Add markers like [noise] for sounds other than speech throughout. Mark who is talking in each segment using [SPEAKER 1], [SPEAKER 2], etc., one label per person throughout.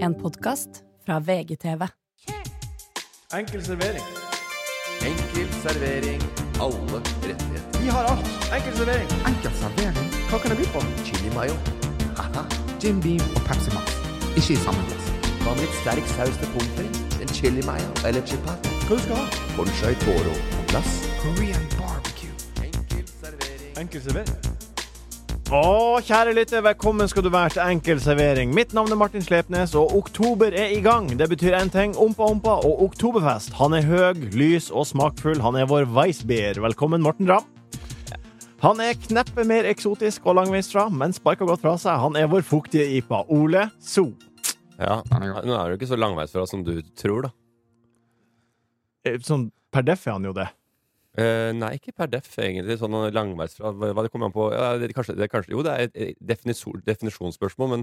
[SPEAKER 1] En podkast fra VGTV.
[SPEAKER 2] Enkel servering.
[SPEAKER 3] Enkel servering. Alle rettigheter.
[SPEAKER 2] Vi har alt. Enkel servering.
[SPEAKER 4] Enkel servering,
[SPEAKER 2] Hva kan jeg by på?
[SPEAKER 3] Chili mayo. Haha.
[SPEAKER 4] Jim Beam og Pepsi Max. Ikke i samme glass.
[SPEAKER 3] Hva med litt sterk saus til pommes frites? En chili mayo eller chipat?
[SPEAKER 2] Hva du skal ha?
[SPEAKER 3] Ponchai toro på glass.
[SPEAKER 4] Korean barbecue.
[SPEAKER 3] Enkel servering.
[SPEAKER 2] Enkel servering. Å, kjære lytter, velkommen skal du være til Enkel servering. Mitt navn er Martin Slepnes, og oktober er i gang. Det betyr én ting. Ompa Ompa og oktoberfest. Han er høy, lys og smakfull. Han er vår Weissbier. Velkommen, Morten Ramm. Han er kneppe mer eksotisk og langveis fra, men sparker godt fra seg. Han er vår fuktige IPA. Ole So.
[SPEAKER 5] Ja,
[SPEAKER 4] er god.
[SPEAKER 5] Nå er du ikke så langveisfra som du tror, da.
[SPEAKER 2] Eh, Sånn per deff er han jo det.
[SPEAKER 5] Eh, nei, ikke per def, egentlig. Sånn langveisfra Hva hva det kommer an på ja, det, kanskje, det, kanskje, Jo, det er et et definiso- definisjonsspørsmål, men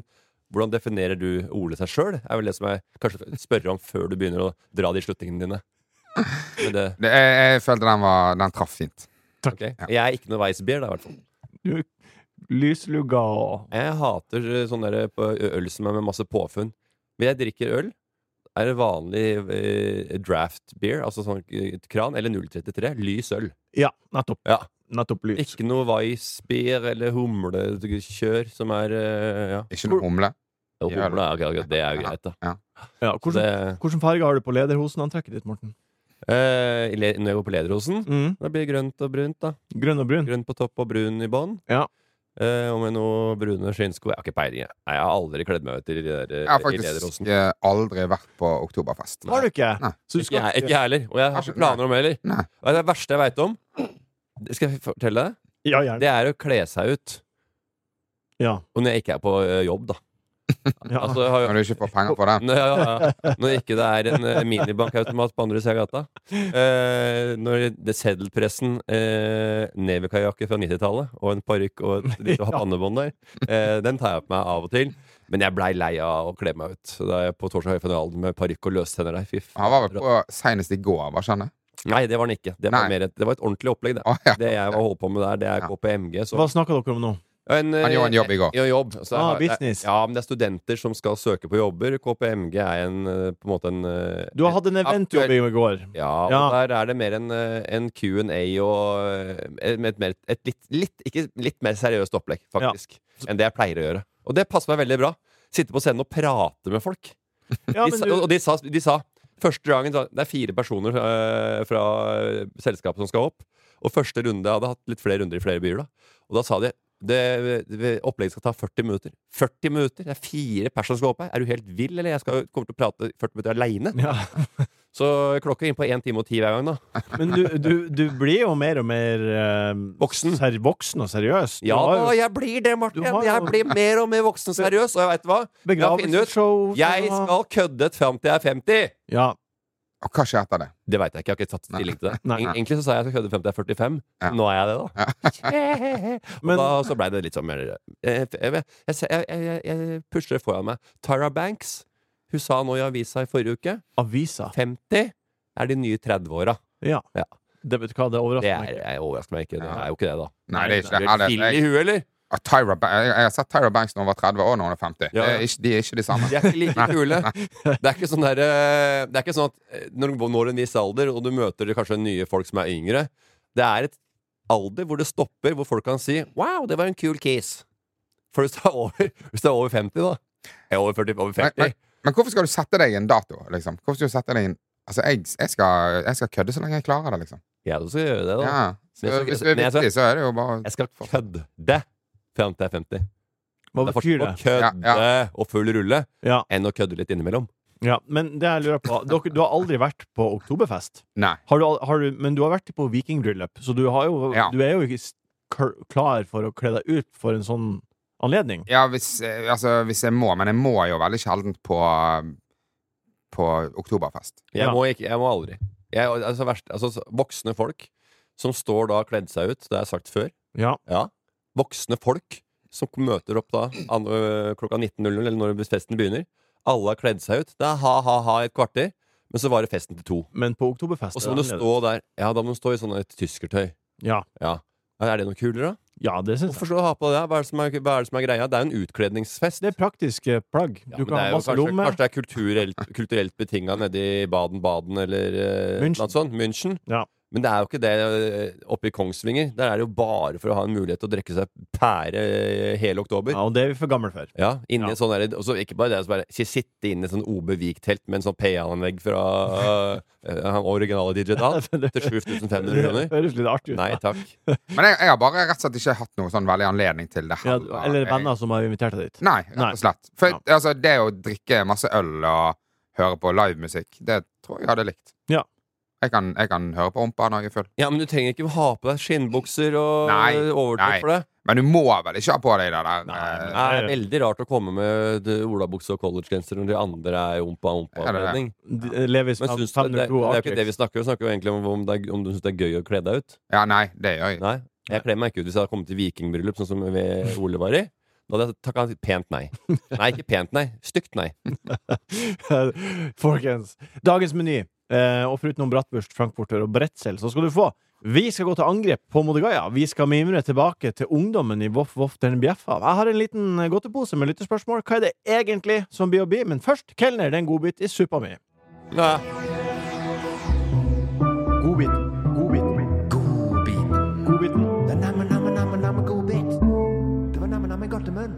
[SPEAKER 5] hvordan definerer du ordet seg sjøl? er vel det som jeg kanskje spørre om før du begynner å dra de slutningene dine. Men det,
[SPEAKER 4] Det, jeg, jeg følte den, var, den traff fint.
[SPEAKER 5] ok. Jeg er ikke noe weissbier, da, i hvert fall.
[SPEAKER 2] Lyslugga og
[SPEAKER 5] Jeg hater eh, sånn der på øl som er med masse påfunn. Men jeg drikker øl. Er det vanlig eh, draft beer, altså sånn eh, kran, eller 033? Lys øl.
[SPEAKER 2] Ja, nettopp.
[SPEAKER 5] Ja.
[SPEAKER 2] Nettopp lys.
[SPEAKER 5] Ikke noe Weissbier eller humlekjør som er eh, Ja.
[SPEAKER 4] Ikke noe humle.
[SPEAKER 5] Jo,
[SPEAKER 4] Ja,
[SPEAKER 5] humle er jo greit, det er jo greit, da.
[SPEAKER 2] Ja,
[SPEAKER 5] Det,
[SPEAKER 2] hvordan, hvordan farge har du på lederhosenantrekket ditt, Morten?
[SPEAKER 5] eh, le- når jeg går på Lederosen, da blir det grønt og brunt. da
[SPEAKER 2] Grønn og brun?
[SPEAKER 5] Grønn på topp og brun i bånn.
[SPEAKER 2] Mm. Ja.
[SPEAKER 5] Eh, og med noe brune skinnsko Jeg har ikke peiling. Jeg, Nei, jeg har aldri kledd meg ut i, de der, eh,
[SPEAKER 4] Jeg har
[SPEAKER 5] i
[SPEAKER 4] faktisk
[SPEAKER 5] Lederosen.
[SPEAKER 4] eh, aldri vært på oktoberfest.
[SPEAKER 2] Har du ikke?
[SPEAKER 4] Nei.
[SPEAKER 2] Så du
[SPEAKER 5] Ikke
[SPEAKER 2] skal
[SPEAKER 5] jeg, ikke jeg heller. Og jeg har ikke planer om det heller.
[SPEAKER 4] Nei.
[SPEAKER 5] Hva er det verste jeg veit om? Det Skal jeg fortelle deg?
[SPEAKER 2] Ja, gjerne.
[SPEAKER 5] Det er å kle seg ut.
[SPEAKER 2] Ja.
[SPEAKER 5] Og når jeg ikke er på eh, jobb, da.
[SPEAKER 2] Ja.
[SPEAKER 5] Altså, jeg har jo
[SPEAKER 4] Når du ikke får penger for det.
[SPEAKER 5] Nå, ja, ja. når ikke det er en eh, minibankautomat på andre sida av gata. Eh, når det seddelpressen, eh, neverkajakke fra 90-tallet og en parykk og et
[SPEAKER 4] [laughs]
[SPEAKER 5] lite
[SPEAKER 2] Ja.
[SPEAKER 5] pannebånd der, eh, den tar jeg på meg av og til. Men jeg blei lei av å kle meg ut. Så Da er jeg på torsdag høy final med parykk og løstenner der. Fy faen.
[SPEAKER 4] Han var vel på senest i går, hva skjønner jeg?
[SPEAKER 5] Nei, det var den ikke. Det var,
[SPEAKER 4] Nei.
[SPEAKER 5] mer et, det var et ordentlig opplegg, det.
[SPEAKER 4] Å, ja.
[SPEAKER 5] Det jeg var holdt på med der, det er
[SPEAKER 4] Ja.
[SPEAKER 5] KPMG. Så
[SPEAKER 2] Hva snakker dere om nå?
[SPEAKER 5] en,
[SPEAKER 4] Han gjorde en jobb i går.
[SPEAKER 5] Ja, jobb. Så
[SPEAKER 2] Ah,
[SPEAKER 5] jeg har-
[SPEAKER 2] business.
[SPEAKER 5] Ja, men det er studenter som skal søke på jobber. KPMG er en, eh, på en måte en eh,
[SPEAKER 2] Du har hatt en eventjobb i går.
[SPEAKER 5] ja, og
[SPEAKER 2] Ja.
[SPEAKER 5] der er det mer en, eh, en Q&A og eh, et, mer, et litt, litt, ikke, litt mer seriøst opplegg, faktisk, enn det jeg pleier å gjøre. Og det passer meg veldig bra. Sitte på scenen og prate med folk.
[SPEAKER 2] Ja,
[SPEAKER 5] de,
[SPEAKER 2] men
[SPEAKER 5] sa,
[SPEAKER 2] du,
[SPEAKER 5] Og de sa, de sa Første gangen sa Det er fire personer eh, fra eh, selskapet som skal opp. Og første runde Jeg hadde hatt litt flere runder i flere byer, da. Og da sa de det, det, opplegget skal ta 40 minutter. 40 minutter! Det er fire personer som skal opp her. Er du helt vill, eller? Jeg skal, kommer til å prate 40 minutter aleine.
[SPEAKER 2] ja.
[SPEAKER 5] Så klokka er inn på 1 time og 10 hver gang, da.
[SPEAKER 2] men du, du, du blir jo mer og mer eh,
[SPEAKER 5] Voksen.
[SPEAKER 2] Ser, voksen og seriøs.
[SPEAKER 5] Ja
[SPEAKER 2] du
[SPEAKER 5] da,
[SPEAKER 2] har jo
[SPEAKER 5] jeg blir det, Morten.
[SPEAKER 2] Du har jo-
[SPEAKER 5] Jeg blir mer og mer voksen seriøs. Og jeg veit hva? Jeg har funnet ut.
[SPEAKER 2] begravelsesshow.
[SPEAKER 5] Jeg skal kødde fram til jeg er 50!
[SPEAKER 2] Ja.
[SPEAKER 4] Og hva skjer etter det?
[SPEAKER 5] Det veit jeg ikke. Jeg har ikke tatt stilling til det.
[SPEAKER 2] Nei.
[SPEAKER 5] Eng- Egentlig så sa jeg jeg skal kødde fram til jeg er 45.
[SPEAKER 4] Ja.
[SPEAKER 5] Nå er jeg det, da.
[SPEAKER 2] Men-
[SPEAKER 5] [laughs] og da så blei det litt sånn mer Jeg, jeg, jeg, jeg, jeg, jeg pusher det foran meg. Tyra Banks Hun sa nå i avisa i forrige uke
[SPEAKER 2] Avisa.
[SPEAKER 5] 50 er de nye 30-åra.
[SPEAKER 2] Ja.
[SPEAKER 5] Ja.
[SPEAKER 2] Det vet du hva, det
[SPEAKER 5] Det
[SPEAKER 2] overrasker
[SPEAKER 5] er,
[SPEAKER 2] meg ikke.
[SPEAKER 5] jeg overrasker meg ikke. Det er jo ikke det, da.
[SPEAKER 4] Nei, det er ikke
[SPEAKER 5] Er du
[SPEAKER 4] det. Ja,
[SPEAKER 5] helt
[SPEAKER 4] det
[SPEAKER 5] vill
[SPEAKER 4] jeg,
[SPEAKER 5] i huet, eller?
[SPEAKER 4] Ja, Tyra, Ba- jeg, jeg har sett Tyra Banks når hun var 30 år, når hun er
[SPEAKER 5] Ja,
[SPEAKER 4] 50.
[SPEAKER 5] ja.
[SPEAKER 4] Det er ikke, de er ikke de
[SPEAKER 5] [laughs]
[SPEAKER 4] samme.
[SPEAKER 5] De er ikke like kule. Det er ikke sånn der, eh, Det er ikke sånn at eh, når du når en viss alder, og du møter kanskje nye folk som er yngre Det er et alder hvor det stopper, hvor folk kan si 'wow, det var en kul kiss'. For hvis du er over, hvis du er over 50, da Jeg er over 40, over
[SPEAKER 4] Men,
[SPEAKER 5] 50.
[SPEAKER 4] men, men hvorfor skal du sette deg i en dato, liksom? Hvorfor skal du sette deg i en Altså, jeg, jeg, skal, jeg skal kødde så lenge jeg klarer det, liksom.
[SPEAKER 5] Jeg også skal gjøre det, da.
[SPEAKER 4] Ja. Så,
[SPEAKER 5] Men jeg skal-
[SPEAKER 4] hvis du er
[SPEAKER 5] men jeg skal-
[SPEAKER 4] vittig, så er det jo bare
[SPEAKER 5] Jeg skal kødde fram til jeg er 50.
[SPEAKER 2] Hva
[SPEAKER 5] Det er
[SPEAKER 2] betyr
[SPEAKER 5] forskjell
[SPEAKER 2] det?
[SPEAKER 5] på å kødde og full rulle
[SPEAKER 2] Ja,
[SPEAKER 5] enn å kødde litt innimellom.
[SPEAKER 2] ja. Men det jeg lurer på dere, Du har aldri vært på oktoberfest?
[SPEAKER 4] Nei.
[SPEAKER 2] Har du, al- har du, men du har vært på Viking Drillup, så du, har jo,
[SPEAKER 4] Ja.
[SPEAKER 2] du er jo ikke s- kl- klar for å kle deg ut for en sånn anledning.
[SPEAKER 4] Ja, hvis, eh, altså, hvis jeg må, men jeg må jo veldig sjelden på, på oktoberfest.
[SPEAKER 5] Jeg,
[SPEAKER 2] Ja.
[SPEAKER 5] må ikke, jeg må aldri. Jeg, altså, verst, altså, så- voksne folk som står da kledd seg ut, det har jeg sagt før.
[SPEAKER 2] Ja.
[SPEAKER 5] Ja. Voksne folk som møter opp da an, ø, klokka 19.00, eller når festen begynner. Alle har kledd seg ut. Det er ha-ha-ha i et kvarter, men så varer festen til to.
[SPEAKER 2] Men på oktoberfest
[SPEAKER 5] Og
[SPEAKER 2] er
[SPEAKER 5] så må du
[SPEAKER 2] det
[SPEAKER 5] stå der. Ja, da må du stå i sånn et tyskertøy.
[SPEAKER 2] annerledes. Ja.
[SPEAKER 5] Ja. Er det noe kulere, da?
[SPEAKER 2] Ja, det syns jeg.
[SPEAKER 5] Hvorfor skal du ha på det? Hva er det som er, hva er, det som er greia? Det er jo en utkledningsfest.
[SPEAKER 2] Det er praktiske plagg.
[SPEAKER 5] Ja,
[SPEAKER 2] Du kan
[SPEAKER 5] men det er
[SPEAKER 2] ha
[SPEAKER 5] jo
[SPEAKER 2] masse
[SPEAKER 5] kanskje,
[SPEAKER 2] lomme.
[SPEAKER 5] kanskje det er
[SPEAKER 2] [laughs]
[SPEAKER 5] kulturelt, kulturelt betinga nede i Baden-Baden eller eh,
[SPEAKER 2] München.
[SPEAKER 5] noe sånt. München.
[SPEAKER 2] Ja.
[SPEAKER 5] Men det er jo ikke det eh, oppe i Kongsvinger. Der er det jo bare for å ha en mulighet til å drikke seg pære eh, hele oktober.
[SPEAKER 2] Ja, og det er vi for gamle for.
[SPEAKER 5] Ja, inni
[SPEAKER 2] Ja.
[SPEAKER 5] sånn der, og så ikke bare det, så bare ikke sitte inne i sånn OB Vik-telt med en sånn PA-anlegg fra
[SPEAKER 4] [laughs]
[SPEAKER 5] eh, han originale DJ Dan til
[SPEAKER 2] Det
[SPEAKER 5] 7500 kroner.
[SPEAKER 2] [laughs] høres litt artig ut.
[SPEAKER 5] Nei takk.
[SPEAKER 4] Men jeg, jeg har bare rett og slett ikke hatt noe sånn veldig anledning til det.
[SPEAKER 2] Ja,
[SPEAKER 4] heller.
[SPEAKER 2] eller
[SPEAKER 4] Jeg-
[SPEAKER 2] venner som har invitert deg dit.
[SPEAKER 4] Nei,
[SPEAKER 2] Nei.
[SPEAKER 4] rett og slett. For
[SPEAKER 2] Ja.
[SPEAKER 4] altså, det å drikke masse øl og høre på livemusikk, det tror jeg hadde likt.
[SPEAKER 2] Ja.
[SPEAKER 4] Jeg kan, jeg kan høre på Ompa når jeg er full.
[SPEAKER 5] Ja, men du trenger ikke ha på deg skinnbukser og
[SPEAKER 4] Nei, nei.
[SPEAKER 5] overtrekk for det.
[SPEAKER 4] Men du må vel ikke ha på deg det
[SPEAKER 2] Nei,
[SPEAKER 4] der?
[SPEAKER 2] men-
[SPEAKER 4] eh,
[SPEAKER 5] Det er veldig rart å komme med d- olabukse og collegegenser når de andre er i
[SPEAKER 4] Ja, det er det.
[SPEAKER 5] ompa-ompa-anledning.
[SPEAKER 2] De- eh, Levis
[SPEAKER 5] Men syns du, det, det er jo ikke det vi snakker om. Vi snakker jo egentlig om om, det er, om du syns det er gøy å kle deg ut.
[SPEAKER 4] Ja, nei, det gjør jeg.
[SPEAKER 5] Nei. Jeg kler meg ikke ut hvis jeg hadde kommet i vikingbryllup, sånn som vi- Ole var i. Da hadde jeg takka pent nei. Nei, ikke pent nei. Stygt nei.
[SPEAKER 2] [laughs] Folkens, dagens meny, eh, og foruten om bratwurst, frankfurter og bretzel, så skal du få Vi skal gå til angrep på Modigaya. Vi skal mimre tilbake til ungdommen i Voff Voff den bjeffa. Jeg har en liten eh, godtepose med lytterspørsmål. Hva er det egentlig som blir å bli? Men først, kelner, det er en godbit i suppa mi.
[SPEAKER 5] Ja.
[SPEAKER 2] Godbit. Godbit.
[SPEAKER 3] Godbit.
[SPEAKER 2] Godbiten.
[SPEAKER 3] Det er namme, namme, namme, namme godbit. Det var namme, namme godtemunn.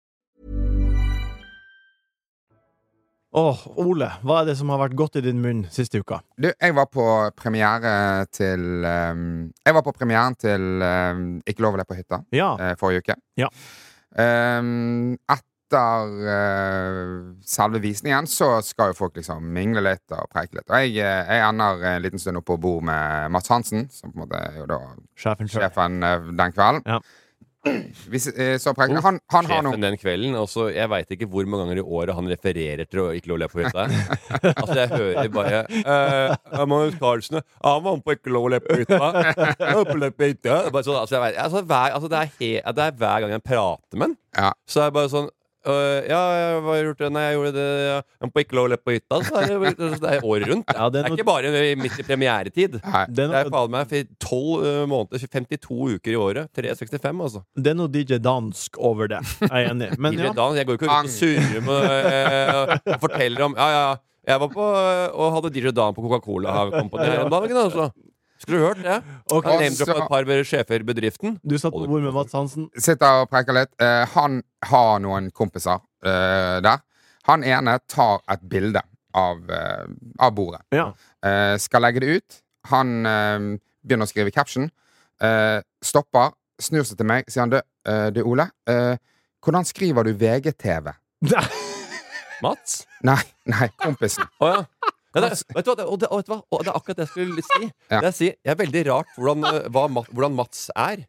[SPEAKER 2] Åh, Ole, hva er det som har vært godt i din munn siste uka?
[SPEAKER 4] Du, jeg var på premiere til ehm, Jeg var på premieren til ehm, Ikke lov å le på hytta
[SPEAKER 2] Ja.
[SPEAKER 4] eh, forrige uke.
[SPEAKER 2] Ja.
[SPEAKER 4] Ehm, etter eh, selve visningen så skal jo folk liksom mingle litt og preike litt. Og jeg, eh, jeg ender en liten stund oppe og bor med Mats Hansen, som på en måte er jo da
[SPEAKER 2] Sjefen sjøl.
[SPEAKER 4] sjefen eh, den kvelden.
[SPEAKER 2] Ja.
[SPEAKER 4] Vi s- eh, så preike Han, han har
[SPEAKER 5] Sjefen
[SPEAKER 4] noen
[SPEAKER 5] den kvelden. Og så jeg veit ikke hvor mange ganger i året han refererer til å ikke lov å le på
[SPEAKER 4] [laughs]
[SPEAKER 5] hytta. altså, jeg hører bare eh, Magnus Carlsen ja, Han var med på ikke lov å le på hytta. Han var på le på hytta. Bare sånn, altså, jeg vet, altså, hver, altså, det, er he, det er hver gang jeg prater med han,
[SPEAKER 4] Ja.
[SPEAKER 5] så er det bare sånn øh, ja, jeg har gjort det. Nei, jeg gjorde det. Ja. Men på ikke lov å le på hytta, så er det, så det er året rundt.
[SPEAKER 2] Ja,
[SPEAKER 5] det,
[SPEAKER 2] det er
[SPEAKER 5] er
[SPEAKER 2] noe-
[SPEAKER 5] ikke bare midt i premieretid.
[SPEAKER 4] Nei.
[SPEAKER 2] Det
[SPEAKER 5] Det
[SPEAKER 2] er
[SPEAKER 5] er
[SPEAKER 2] noe,
[SPEAKER 5] faen meg for 12 øh, måneder, 52 uker i året. 365, altså.
[SPEAKER 2] det er noe DJ Dansk over det. Jeg er enig. Men
[SPEAKER 5] Tidligere
[SPEAKER 2] ja,
[SPEAKER 5] da, jeg går ikke rundt og surrer med eh, og forteller om Ja, ja, jeg var på eh, og hadde DJ Dan på Coca-Cola her om på den her om dagen, altså. Skulle du hørt det?
[SPEAKER 2] Ok.
[SPEAKER 5] Jeg name-droppa et par sjefer i bedriften.
[SPEAKER 2] du satt på bord med Mats Hansen.
[SPEAKER 4] sitter og preker litt. Eh, han har noen kompiser eh, der. Han ene tar et bilde av, eh, av bordet.
[SPEAKER 2] Ja.
[SPEAKER 4] Eh, skal legge det ut. Han eh, begynner å skrive caption. Eh, stopper, snur seg til meg, sier han du, eh, du Ole, eh, hvordan skriver du VGTV?
[SPEAKER 5] Mats?
[SPEAKER 4] Nei, [laughs] nei, kompisen.
[SPEAKER 5] Å ja. Ja, det, vet du hva, det, og det, og vet du hva? Og det er akkurat det jeg skulle si.
[SPEAKER 4] Ja.
[SPEAKER 5] Det jeg, sier, jeg er veldig rart hvordan, eh, hva, Mat- hvordan Mats er.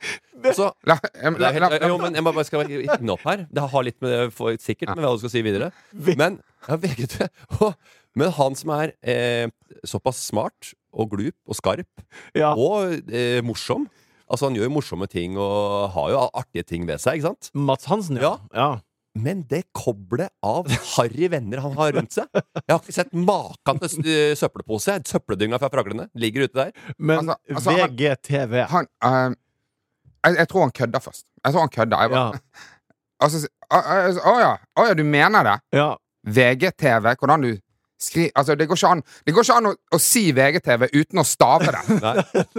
[SPEAKER 5] Så,
[SPEAKER 4] La, eh,
[SPEAKER 5] det
[SPEAKER 4] la,
[SPEAKER 5] er
[SPEAKER 4] la,
[SPEAKER 5] helt, jo, men jeg må bare skal inne opp her. Det har litt med det for, sikkert med hva du skal si videre. Men ja, VGT, Å, Men han som er eh, såpass smart og glup og skarp
[SPEAKER 2] Ja.
[SPEAKER 5] og eh, morsom Altså Han gjør jo morsomme ting og har jo artige ting ved seg. ikke sant?
[SPEAKER 2] [laughs] Mats Hansen, ja. ja.
[SPEAKER 5] Men det koblet av harry venner han har rundt seg Jeg har ikke sett maken til s- eh, søppelpose. Søppeldynga fra fraglene ligger ute der.
[SPEAKER 2] Men
[SPEAKER 4] Altså- altså, han-
[SPEAKER 2] VGTV
[SPEAKER 4] han eh, jeg, jeg tror han kødder først. Jeg tror han kødder.
[SPEAKER 2] ja,
[SPEAKER 4] Jeg bare, altså, s- å, å, å, ja. å ja, du mener det?
[SPEAKER 2] ja.
[SPEAKER 4] VGTV, hvordan du skriver Altså, det går ikke an, det går ikke an å, å si VGTV uten å stave det.
[SPEAKER 5] [laughs] Nei.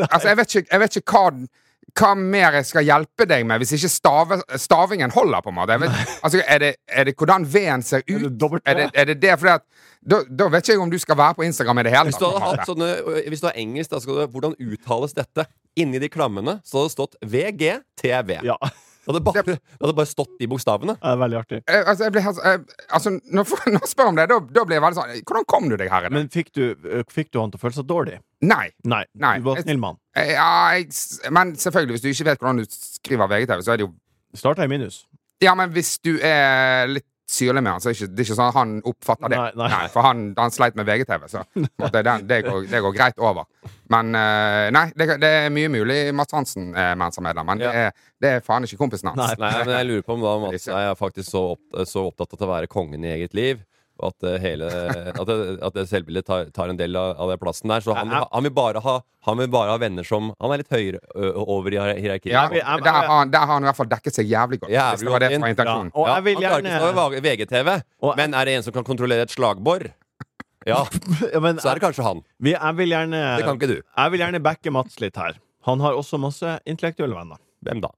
[SPEAKER 4] Altså, jeg vet ikke, jeg vet ikke hva den- hva mer jeg skal hjelpe deg med hvis ikke stave, stavingen holder? på en måte jeg vet, altså, er, det, er det hvordan V-en ser ut?
[SPEAKER 2] det dobbelt V?
[SPEAKER 4] er det, er det, det fordi at da, da vet ikke jeg om du skal være på Instagram i det hele
[SPEAKER 5] Hvis du
[SPEAKER 4] tatt. på
[SPEAKER 5] hadde hatt
[SPEAKER 4] en måte.
[SPEAKER 5] sånne ø, Hvis du har engelsk, da skal du Hvordan uttales dette? Inni de klammene så hadde det stått VGTV.
[SPEAKER 2] ja. [laughs]
[SPEAKER 5] Det hadde bare, det hadde bare stått de bokstavene.
[SPEAKER 2] Det er veldig artig.
[SPEAKER 4] Eh, Altså, jeg blir helt, eh, altså når, når jeg spør om det, da, da blir jeg veldig sånn Hvordan kom du deg her? i det?
[SPEAKER 2] Men fikk du, ø, fikk du han til å føle seg dårlig?
[SPEAKER 4] Nei.
[SPEAKER 2] Nei.
[SPEAKER 4] Nei.
[SPEAKER 2] Du var en snill mann.
[SPEAKER 4] Eh, Ja, jeg, s- men selvfølgelig, hvis du ikke vet hvordan du skriver VGTV, så er det jo
[SPEAKER 2] Starta i minus.
[SPEAKER 4] Ja, men hvis du er litt syrlig med han, så er det ikke, det er ikke sånn at han oppfatter det.
[SPEAKER 2] Nei, nei.
[SPEAKER 4] for han, han sleit med VGTV, så
[SPEAKER 2] [laughs]
[SPEAKER 4] på en måte, den, det, går, det går greit over. Men eh, nei, det, det er mye mulig Mads Hansen er Mensa-medlem, men det,
[SPEAKER 5] Ja.
[SPEAKER 4] er, det er faen ikke kompisen hans.
[SPEAKER 2] Nei.
[SPEAKER 5] Nei, men jeg lurer på om da Mats er faktisk så, opp, så opptatt av å være kongen i eget liv. og At, eh, hele, at, det, at det selvbildet tar, tar en del av, av den plassen der. Så han, vil ha- han, vil bare ha, han vil bare ha venner som Han er litt høyere ø, over i hier- hierarkiet.
[SPEAKER 4] Ja,
[SPEAKER 2] Jeg- jeg-
[SPEAKER 4] der, har han, der har han i hvert fall dekket seg jævlig godt.
[SPEAKER 5] Jævlig
[SPEAKER 4] hvis det var det
[SPEAKER 5] godt
[SPEAKER 4] som var
[SPEAKER 5] inn.
[SPEAKER 4] intensjonen.
[SPEAKER 2] Ja, og jeg vil
[SPEAKER 5] han klarer ikke
[SPEAKER 2] gjerne-
[SPEAKER 5] å være VGTV,
[SPEAKER 2] Og-
[SPEAKER 5] men er det en som kan kontrollere et slagbor,
[SPEAKER 2] [laughs]
[SPEAKER 5] ja,
[SPEAKER 2] [laughs] Ja, men
[SPEAKER 5] så er det kanskje han.
[SPEAKER 2] vi, jeg vil gjerne
[SPEAKER 5] Det kan ikke du.
[SPEAKER 2] Jeg vil gjerne backe Mats litt her. Han har også masse intellektuelle venner.
[SPEAKER 5] Hvem da?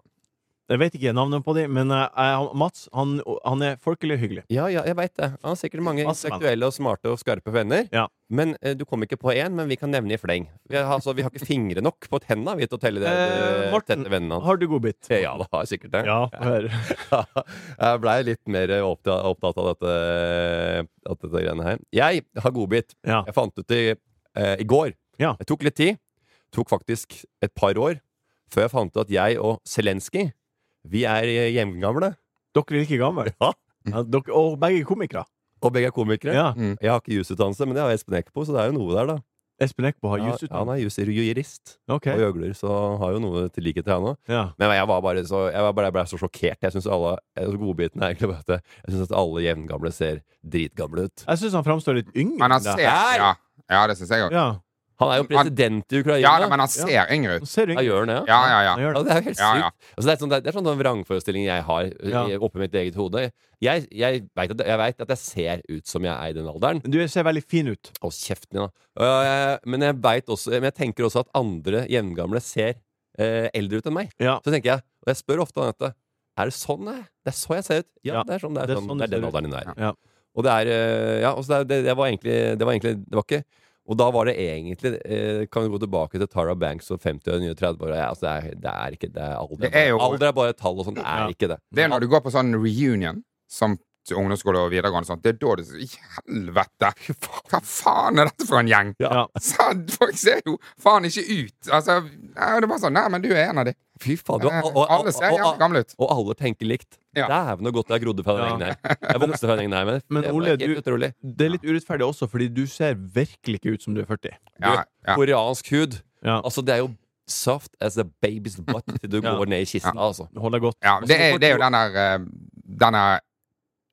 [SPEAKER 2] Jeg vet ikke navnet på dem, men eh, jeg- Mats han, han er folkelig hyggelig.
[SPEAKER 5] Ja, ja, jeg veit det. Han har sikkert mange
[SPEAKER 2] Masse venner.
[SPEAKER 5] intellektuelle og smarte og skarpe venner.
[SPEAKER 2] Ja.
[SPEAKER 5] Men eh, du kom ikke på én, men vi kan nevne i fleng. Vi har, altså, vi har ikke fingre nok på tenna vi, til å telle det,
[SPEAKER 2] Eh,
[SPEAKER 5] eh,
[SPEAKER 2] Morten,
[SPEAKER 5] tette vennene hans.
[SPEAKER 2] har du godbit?
[SPEAKER 5] Ja, det har jeg sikkert det.
[SPEAKER 2] Ja, hør.
[SPEAKER 5] [laughs] jeg blei litt mer opptatt, opptatt av dette, eh, av dette greiene her. Jeg har godbit.
[SPEAKER 2] Ja.
[SPEAKER 5] Jeg fant ut det eh, i går.
[SPEAKER 2] Ja.
[SPEAKER 5] Jeg tok litt tid. Tok faktisk et par år før jeg fant ut at jeg og Zelenskyj, vi er eh, jevngamle.
[SPEAKER 2] Dere er like gamle.
[SPEAKER 5] Ja.
[SPEAKER 2] Ja, dere, og begge er komikere.
[SPEAKER 5] Og begge er komikere.
[SPEAKER 2] Ja.
[SPEAKER 4] Mm.
[SPEAKER 5] Jeg har ikke jusutdannelse, men jeg har Espen Eckbo, så det er jo noe der, da.
[SPEAKER 2] Espen Eckbo har
[SPEAKER 5] Ja, han
[SPEAKER 2] jusutdanning.
[SPEAKER 5] er jus- jurist
[SPEAKER 2] Ok.
[SPEAKER 5] og gjøgler, så han har jo noe til likhet til han òg.
[SPEAKER 2] Ja.
[SPEAKER 5] Men jeg var bare så, jeg var bare, jeg ble så sjokkert. Jeg syns alle jeg synes godbiten er egentlig bare at jeg- Jeg synes at alle jevngamle ser dritgamle ut.
[SPEAKER 2] Jeg syns han framstår litt yngre.
[SPEAKER 4] Men
[SPEAKER 2] enn
[SPEAKER 4] han ser
[SPEAKER 2] det.
[SPEAKER 4] Ja, ja det syns jeg òg.
[SPEAKER 2] ja.
[SPEAKER 5] Han er jo
[SPEAKER 4] Han-
[SPEAKER 5] president i Ukraina.
[SPEAKER 4] Ja, da, men han ser yngre
[SPEAKER 2] Han
[SPEAKER 4] ut.
[SPEAKER 2] ser
[SPEAKER 5] Ja,
[SPEAKER 2] yngre
[SPEAKER 5] gjør han det?
[SPEAKER 4] Ja, ja, ja.
[SPEAKER 2] Han gjør
[SPEAKER 5] Ja,
[SPEAKER 2] det.
[SPEAKER 5] det er jo helt
[SPEAKER 4] Ja,
[SPEAKER 5] sykt.
[SPEAKER 4] ja.
[SPEAKER 5] Altså, det, er sånn, det er- det er sånn en vrangforestilling jeg har
[SPEAKER 2] Ja.
[SPEAKER 5] ja. oppi mitt eget hode. Jeg, jeg veit at, jeg vet at jeg ser ut som jeg er i den alderen.
[SPEAKER 2] Du ser veldig fin ut.
[SPEAKER 5] Hold kjeften din, da. Øh, men jeg vet også Men jeg tenker også at andre jevngamle ser eh, eldre ut enn meg.
[SPEAKER 2] Ja.
[SPEAKER 5] Så tenker jeg, og jeg spør ofte Anette Er det sånn jeg Det er så jeg ser ut. Ja,
[SPEAKER 2] Ja,
[SPEAKER 5] det er sånn det er, sånn, det
[SPEAKER 2] du
[SPEAKER 5] er den
[SPEAKER 2] ser ut.
[SPEAKER 5] alderen din er.
[SPEAKER 2] Ja.
[SPEAKER 5] Og det er eh, Ja, og så det, er- det, det var egentlig Det var egentlig Det var ikke og da var det egentlig eh, Kan vi gå tilbake til Tara Banks og 50 og nye 30 år? Ja, altså det, er, det er ikke det. Er alder,
[SPEAKER 4] Det er jo-
[SPEAKER 5] alder er bare et tall og sånn. Det er
[SPEAKER 2] Ja.
[SPEAKER 5] ikke det.
[SPEAKER 4] Det er når du går på sånn reunion som til ungdomsskole og videregående og sånt. Det er da du sier «I Helvete! Hva faen er dette for en gjeng?
[SPEAKER 2] Ja.
[SPEAKER 4] Så, folk ser jo faen ikke ut. Altså, nei, det er bare sånn Nei, men du er en av de.
[SPEAKER 5] Fy faen. Du,
[SPEAKER 4] Eh, Alle ser jævlig gamle ut.
[SPEAKER 5] Og alle tenker likt.
[SPEAKER 4] Ja.
[SPEAKER 5] Dæven så godt jeg grodde fra
[SPEAKER 2] Ja.
[SPEAKER 5] den gjengen her. Jeg vokste fra den gjengen her, men,
[SPEAKER 2] Men
[SPEAKER 5] det var
[SPEAKER 2] Ole,
[SPEAKER 5] helt
[SPEAKER 2] du-
[SPEAKER 5] utrolig.
[SPEAKER 2] Det er litt urettferdig også, fordi du ser virkelig ikke ut som du er 40.
[SPEAKER 5] Du,
[SPEAKER 4] Ja, ja.
[SPEAKER 5] Koreansk hud.
[SPEAKER 2] Ja.
[SPEAKER 5] Altså, det er jo soft as a baby's butt til du
[SPEAKER 2] Ja.
[SPEAKER 5] går ned i kisten, altså.
[SPEAKER 2] Holder godt.
[SPEAKER 4] ja det, er, det er jo den der eh, Denne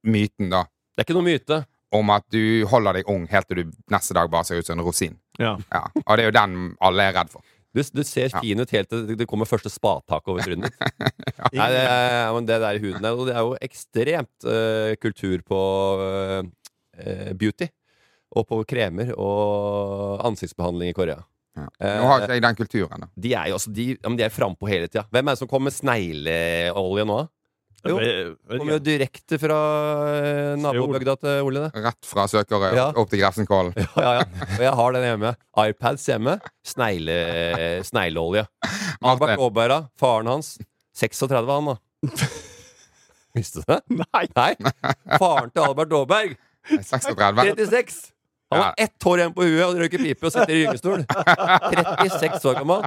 [SPEAKER 4] myten, da,
[SPEAKER 5] Det er ikke noe myte.
[SPEAKER 4] om at du holder deg ung helt til du neste dag bare ser ut som en rosin.
[SPEAKER 2] Ja.
[SPEAKER 4] Ja. Og det er jo den alle er redd for.
[SPEAKER 5] Du, du ser
[SPEAKER 4] Ja.
[SPEAKER 5] fin ut helt til det- det kommer første spadtak over trynet ditt.
[SPEAKER 4] [laughs]
[SPEAKER 5] Nei, det, er- men det der i huden der, og det er jo ekstremt eh, kultur på eh, eh, beauty. Og på kremer og ansiktsbehandling i Korea.
[SPEAKER 4] Ja.
[SPEAKER 5] Eh,
[SPEAKER 4] Nå har ikke jeg den kulturen, da.
[SPEAKER 5] De er jo altså, de, ja, men de er frampå hele tida. Hvem er det som kommer med snegleolje nå, da? Jo,
[SPEAKER 2] Jeg vet
[SPEAKER 5] Kommer jo
[SPEAKER 2] ikke.
[SPEAKER 5] direkte fra eh, nabobygda til Ole, det.
[SPEAKER 4] [laughs] Rett fra Søkerøy
[SPEAKER 5] Ja.
[SPEAKER 4] opp til Grefsenkollen.
[SPEAKER 5] Ja, ja, ja. Og jeg har den hjemme. iPads hjemme. Snegle, eh, snegleolje. Albert
[SPEAKER 4] Martin.
[SPEAKER 5] Aaberg, da. Faren hans. 36 var han, da. Visste du det?
[SPEAKER 2] Nei!
[SPEAKER 5] Nei. Faren til Albert Aaberg.
[SPEAKER 4] 36.
[SPEAKER 5] 36. Han har ett hår igjen på huet og røyker pipe og sitter i gyngestol. 36 år gammel.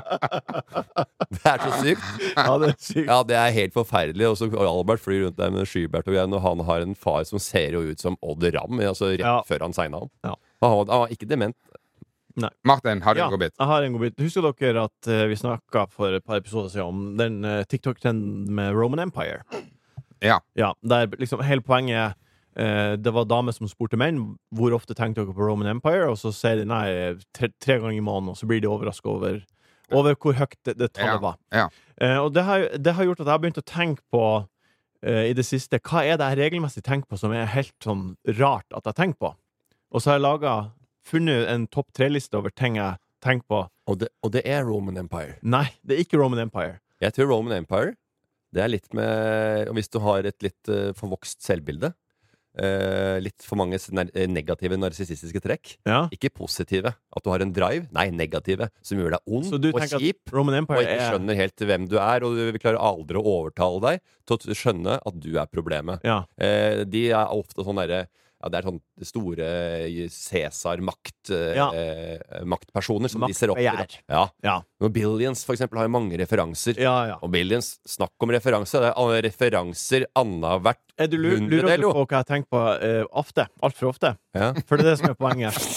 [SPEAKER 5] Det er så sykt.
[SPEAKER 2] Ja, det er sykt.
[SPEAKER 5] Ja, det er helt forferdelig. Og så Albert flyr rundt der med en skybert og greier, og han har en far som ser jo ut som Odd Ramm, altså rett
[SPEAKER 2] Ja.
[SPEAKER 5] før han signa om.
[SPEAKER 2] Ja.
[SPEAKER 5] Han var, han var ikke dement.
[SPEAKER 4] Martin, har du
[SPEAKER 2] Ja,
[SPEAKER 4] en godbit?
[SPEAKER 2] jeg har en godbit. Husker dere at eh, vi snakka for et par episoder siden om den eh, TikTok-trenden med Roman Empire?
[SPEAKER 4] Ja.
[SPEAKER 2] Ja, der liksom hele poenget eh, Det var damer som spurte menn hvor ofte tenkte dere på Roman Empire, og så sier de nei tre, tre ganger i måneden, og så blir de overraska over, over hvor høyt det, det tallet var.
[SPEAKER 4] ja.
[SPEAKER 2] Eh, og det har, det har gjort at jeg har begynt å tenke på eh, i det siste hva er det jeg regelmessig tenker på som er helt sånn rart at jeg tenker på. Og så har jeg laget, funnet en topp tre-liste over ting jeg tenker på.
[SPEAKER 5] Og det, og det er Roman Empire.
[SPEAKER 2] Nei, det er ikke Roman Empire.
[SPEAKER 5] Jeg tror Roman Empire Det er litt med og Hvis du har et litt eh, forvokst selvbilde eh, litt for mange s- ner- eh, negative narsissistiske trekk.
[SPEAKER 2] Ja.
[SPEAKER 5] Ikke positive. At du har en drive. Nei, negative. Som gjør deg ond
[SPEAKER 2] Så du
[SPEAKER 5] og
[SPEAKER 2] tenker
[SPEAKER 5] kjip.
[SPEAKER 2] at Roman
[SPEAKER 5] Og
[SPEAKER 2] Empire
[SPEAKER 5] ikke
[SPEAKER 2] er
[SPEAKER 5] skjønner helt hvem du er, og du klarer aldri å overtale deg til å t- skjønne at du er problemet.
[SPEAKER 2] ja.
[SPEAKER 5] Eh, de er ofte sånn derre ja, Det er sånn store Cæsar-maktpersoner eh,
[SPEAKER 2] Ja.
[SPEAKER 5] eh, maktpersoner som de ser opp til.
[SPEAKER 2] Maktbegjær.
[SPEAKER 5] da. Ja.
[SPEAKER 2] Ja.
[SPEAKER 5] Og Billions, for eksempel, har jo mange referanser.
[SPEAKER 2] ja, ja.
[SPEAKER 5] Og Billions, snakk om referanse. Det er alle referanser annethvert
[SPEAKER 2] Er du lur, lurer du
[SPEAKER 5] Hundredel, jo.
[SPEAKER 2] på hva jeg tenker på eh, ofte? Altfor ofte.
[SPEAKER 5] ja.
[SPEAKER 2] For det er det som er poenget.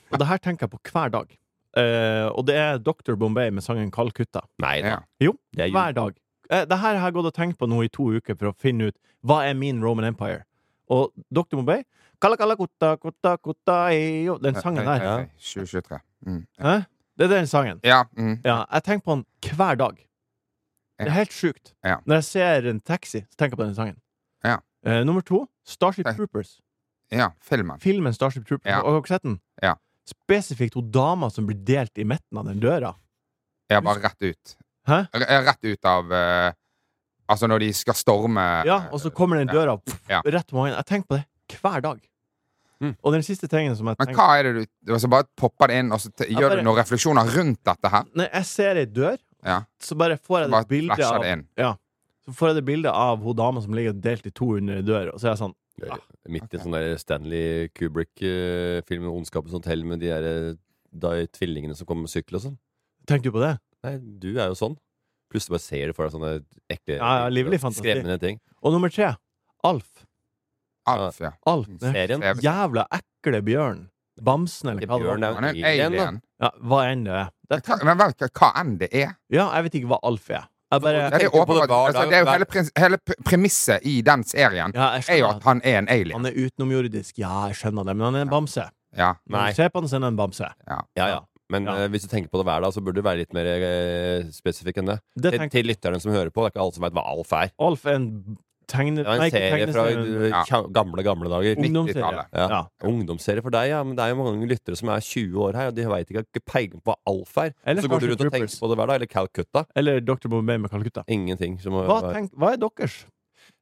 [SPEAKER 5] [laughs]
[SPEAKER 2] Og det her tenker jeg på hver dag. Eh, og det er Dr. Bombay med sangen Calcutta.
[SPEAKER 5] Nei da.
[SPEAKER 4] Ja.
[SPEAKER 2] Jo,
[SPEAKER 5] Det er jo-
[SPEAKER 2] hver dag. Eh, det her har jeg gått og tenkt på nå i to uker for å finne ut hva er min Roman Empire. Og Dr. Bombay kala, kala, kutta, kutta, kutta, eyo. Den sangen der.
[SPEAKER 4] Hei, hei, hei. 2023. Mm.
[SPEAKER 2] Hæ? Det er den sangen.
[SPEAKER 4] Ja. Mm.
[SPEAKER 2] Ja, jeg tenker på den hver dag. Det er helt sjukt.
[SPEAKER 4] Ja.
[SPEAKER 2] Når jeg ser en taxi, så tenker jeg på den sangen.
[SPEAKER 4] Ja.
[SPEAKER 2] Eh, nummer to, Starship
[SPEAKER 4] Ja.
[SPEAKER 2] Troopers.
[SPEAKER 4] ja. Filmen.
[SPEAKER 2] Filmen Starship Troopers.
[SPEAKER 4] Ja.
[SPEAKER 2] Har dere sett den?
[SPEAKER 4] Ja.
[SPEAKER 2] Spesifikt hun dama som blir delt i midten av den døra.
[SPEAKER 4] Ja, bare rett ut.
[SPEAKER 2] Hæ?
[SPEAKER 4] R ja, rett ut av eh, Altså når de skal storme
[SPEAKER 2] Ja, og så kommer den
[SPEAKER 4] ja.
[SPEAKER 2] døra pff,
[SPEAKER 4] Ja.
[SPEAKER 2] rett på magen. Jeg tenker på det hver dag.
[SPEAKER 5] Mm.
[SPEAKER 2] Og den siste tingen som jeg
[SPEAKER 4] Men
[SPEAKER 2] tenker
[SPEAKER 4] hva er det du, du altså Bare popper det inn, og så te,
[SPEAKER 2] Ja,
[SPEAKER 4] gjør
[SPEAKER 2] bare-
[SPEAKER 4] du noen refleksjoner rundt dette her?
[SPEAKER 2] Når jeg ser ei dør,
[SPEAKER 4] Ja.
[SPEAKER 2] så bare får jeg det
[SPEAKER 4] Bare
[SPEAKER 2] bildet
[SPEAKER 4] flasher
[SPEAKER 2] av
[SPEAKER 4] det inn.
[SPEAKER 2] ja, Så får jeg det bildet av hun dama som ligger delt i to under ei dør, og så er jeg sånn
[SPEAKER 5] Ja, Midt i sånn der Stanley Kubrick-film 'Ondskapens hotell' med de der, eh, da, tvillingene som kommer med sykkel og sånn.
[SPEAKER 2] Tenkte du på det?
[SPEAKER 5] Nei, du er jo sånn. Plutselig bare ser du for deg sånne ekle,
[SPEAKER 2] Ja, ja, livlig fantasi.
[SPEAKER 5] skremmende ting.
[SPEAKER 2] Og nummer tre, Alf.
[SPEAKER 4] Alf, ja.
[SPEAKER 2] Alf.
[SPEAKER 4] Mm.
[SPEAKER 2] Den
[SPEAKER 5] Serien.
[SPEAKER 4] Ev-
[SPEAKER 2] jævla ekle bjørnen. Bamsen, eller hva det
[SPEAKER 5] Bjørn
[SPEAKER 2] var.
[SPEAKER 5] er
[SPEAKER 4] Han er en
[SPEAKER 5] jo alien, da.
[SPEAKER 4] alien.
[SPEAKER 2] Ja, hva enn det er. Det,
[SPEAKER 4] Men hva- Men vel, hva- hva enn det er.
[SPEAKER 2] ja, jeg vet ikke hva Alf er. Jeg bare
[SPEAKER 4] Ja, det, er
[SPEAKER 5] tenker på det
[SPEAKER 4] åpenbart,
[SPEAKER 5] hver
[SPEAKER 4] altså,
[SPEAKER 5] dag,
[SPEAKER 4] det er jo
[SPEAKER 5] hver-
[SPEAKER 4] hele, prins- hele pre- premisset i den serien
[SPEAKER 2] ja, jeg
[SPEAKER 4] er jo
[SPEAKER 2] skjønner
[SPEAKER 4] at han er en
[SPEAKER 2] at
[SPEAKER 4] alien.
[SPEAKER 2] han er utenomjordisk. Ja, jeg skjønner det, men han er en bamse.
[SPEAKER 4] Ja.
[SPEAKER 2] Når
[SPEAKER 5] Nei.
[SPEAKER 2] du ser på han, så er han en bamse.
[SPEAKER 5] Ja, ja. Men
[SPEAKER 2] Ja.
[SPEAKER 5] eh, hvis du tenker på det hver dag, så burde du være litt mer eh, spesifikk enn det.
[SPEAKER 2] Det
[SPEAKER 5] Til,
[SPEAKER 2] tenker-
[SPEAKER 5] til lytterne som hører på, det er ikke alle som veit hva Alf er.
[SPEAKER 2] Alf er en tegne...
[SPEAKER 5] Det var
[SPEAKER 2] nei, ikke
[SPEAKER 5] en serie fra
[SPEAKER 2] tegneserie,
[SPEAKER 5] eh, kja- gamle, gamle dager.
[SPEAKER 2] men ungdomsserie.
[SPEAKER 4] 90-tallet.
[SPEAKER 5] Ja.
[SPEAKER 2] Ja.
[SPEAKER 5] Ungdomsserie for deg, ja. Men det er jo mange lyttere som er 20 år her, og de veit ikke, har ikke peiling på hva Alf er.
[SPEAKER 2] Eller
[SPEAKER 5] så går du
[SPEAKER 2] Starship
[SPEAKER 5] rundt og
[SPEAKER 2] Troopers.
[SPEAKER 5] tenker på det hver dag. Eller Calcutta.
[SPEAKER 2] Eller Dr. Bombay med Calcutta.
[SPEAKER 5] Ingenting. Som,
[SPEAKER 2] Hva, tenk, hva er deres?